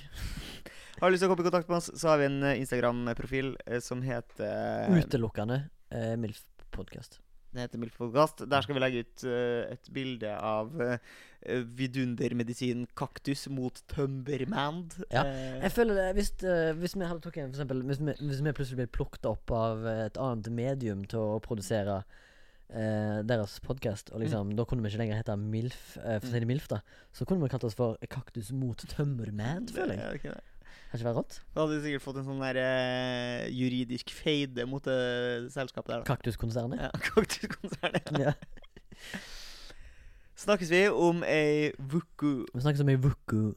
Har du lyst til å komme i kontakt med oss, så har vi en eh, Instagram-profil eh, som heter Utelukkende eh, MILF-podkast. Det heter Milfpodkast. Der skal vi legge ut eh, et bilde av eh, vidundermedisin kaktus mot Tumbermand. Ja. Eh, Jeg føler det, hvis, eh, hvis vi hadde tatt en, for eksempel, hvis vi, hvis vi plutselig ble plukket opp av eh, et annet medium til å produsere eh, deres podkast, og liksom, da kunne vi ikke lenger hete MILF, eh, for å si det MILF, da, så kunne vi kalt oss for Kaktus mot tømmerman, føler jeg. det er ikke det. Hadde ikke vært rått? Da hadde du sikkert fått en sånn der, eh, juridisk feide mot det selskapet der. da. Kaktuskonsernet. Ja, Kaktuskonsernet. Ja. Snakkes vi om ei vuku. Vi snakkes om i Vuku.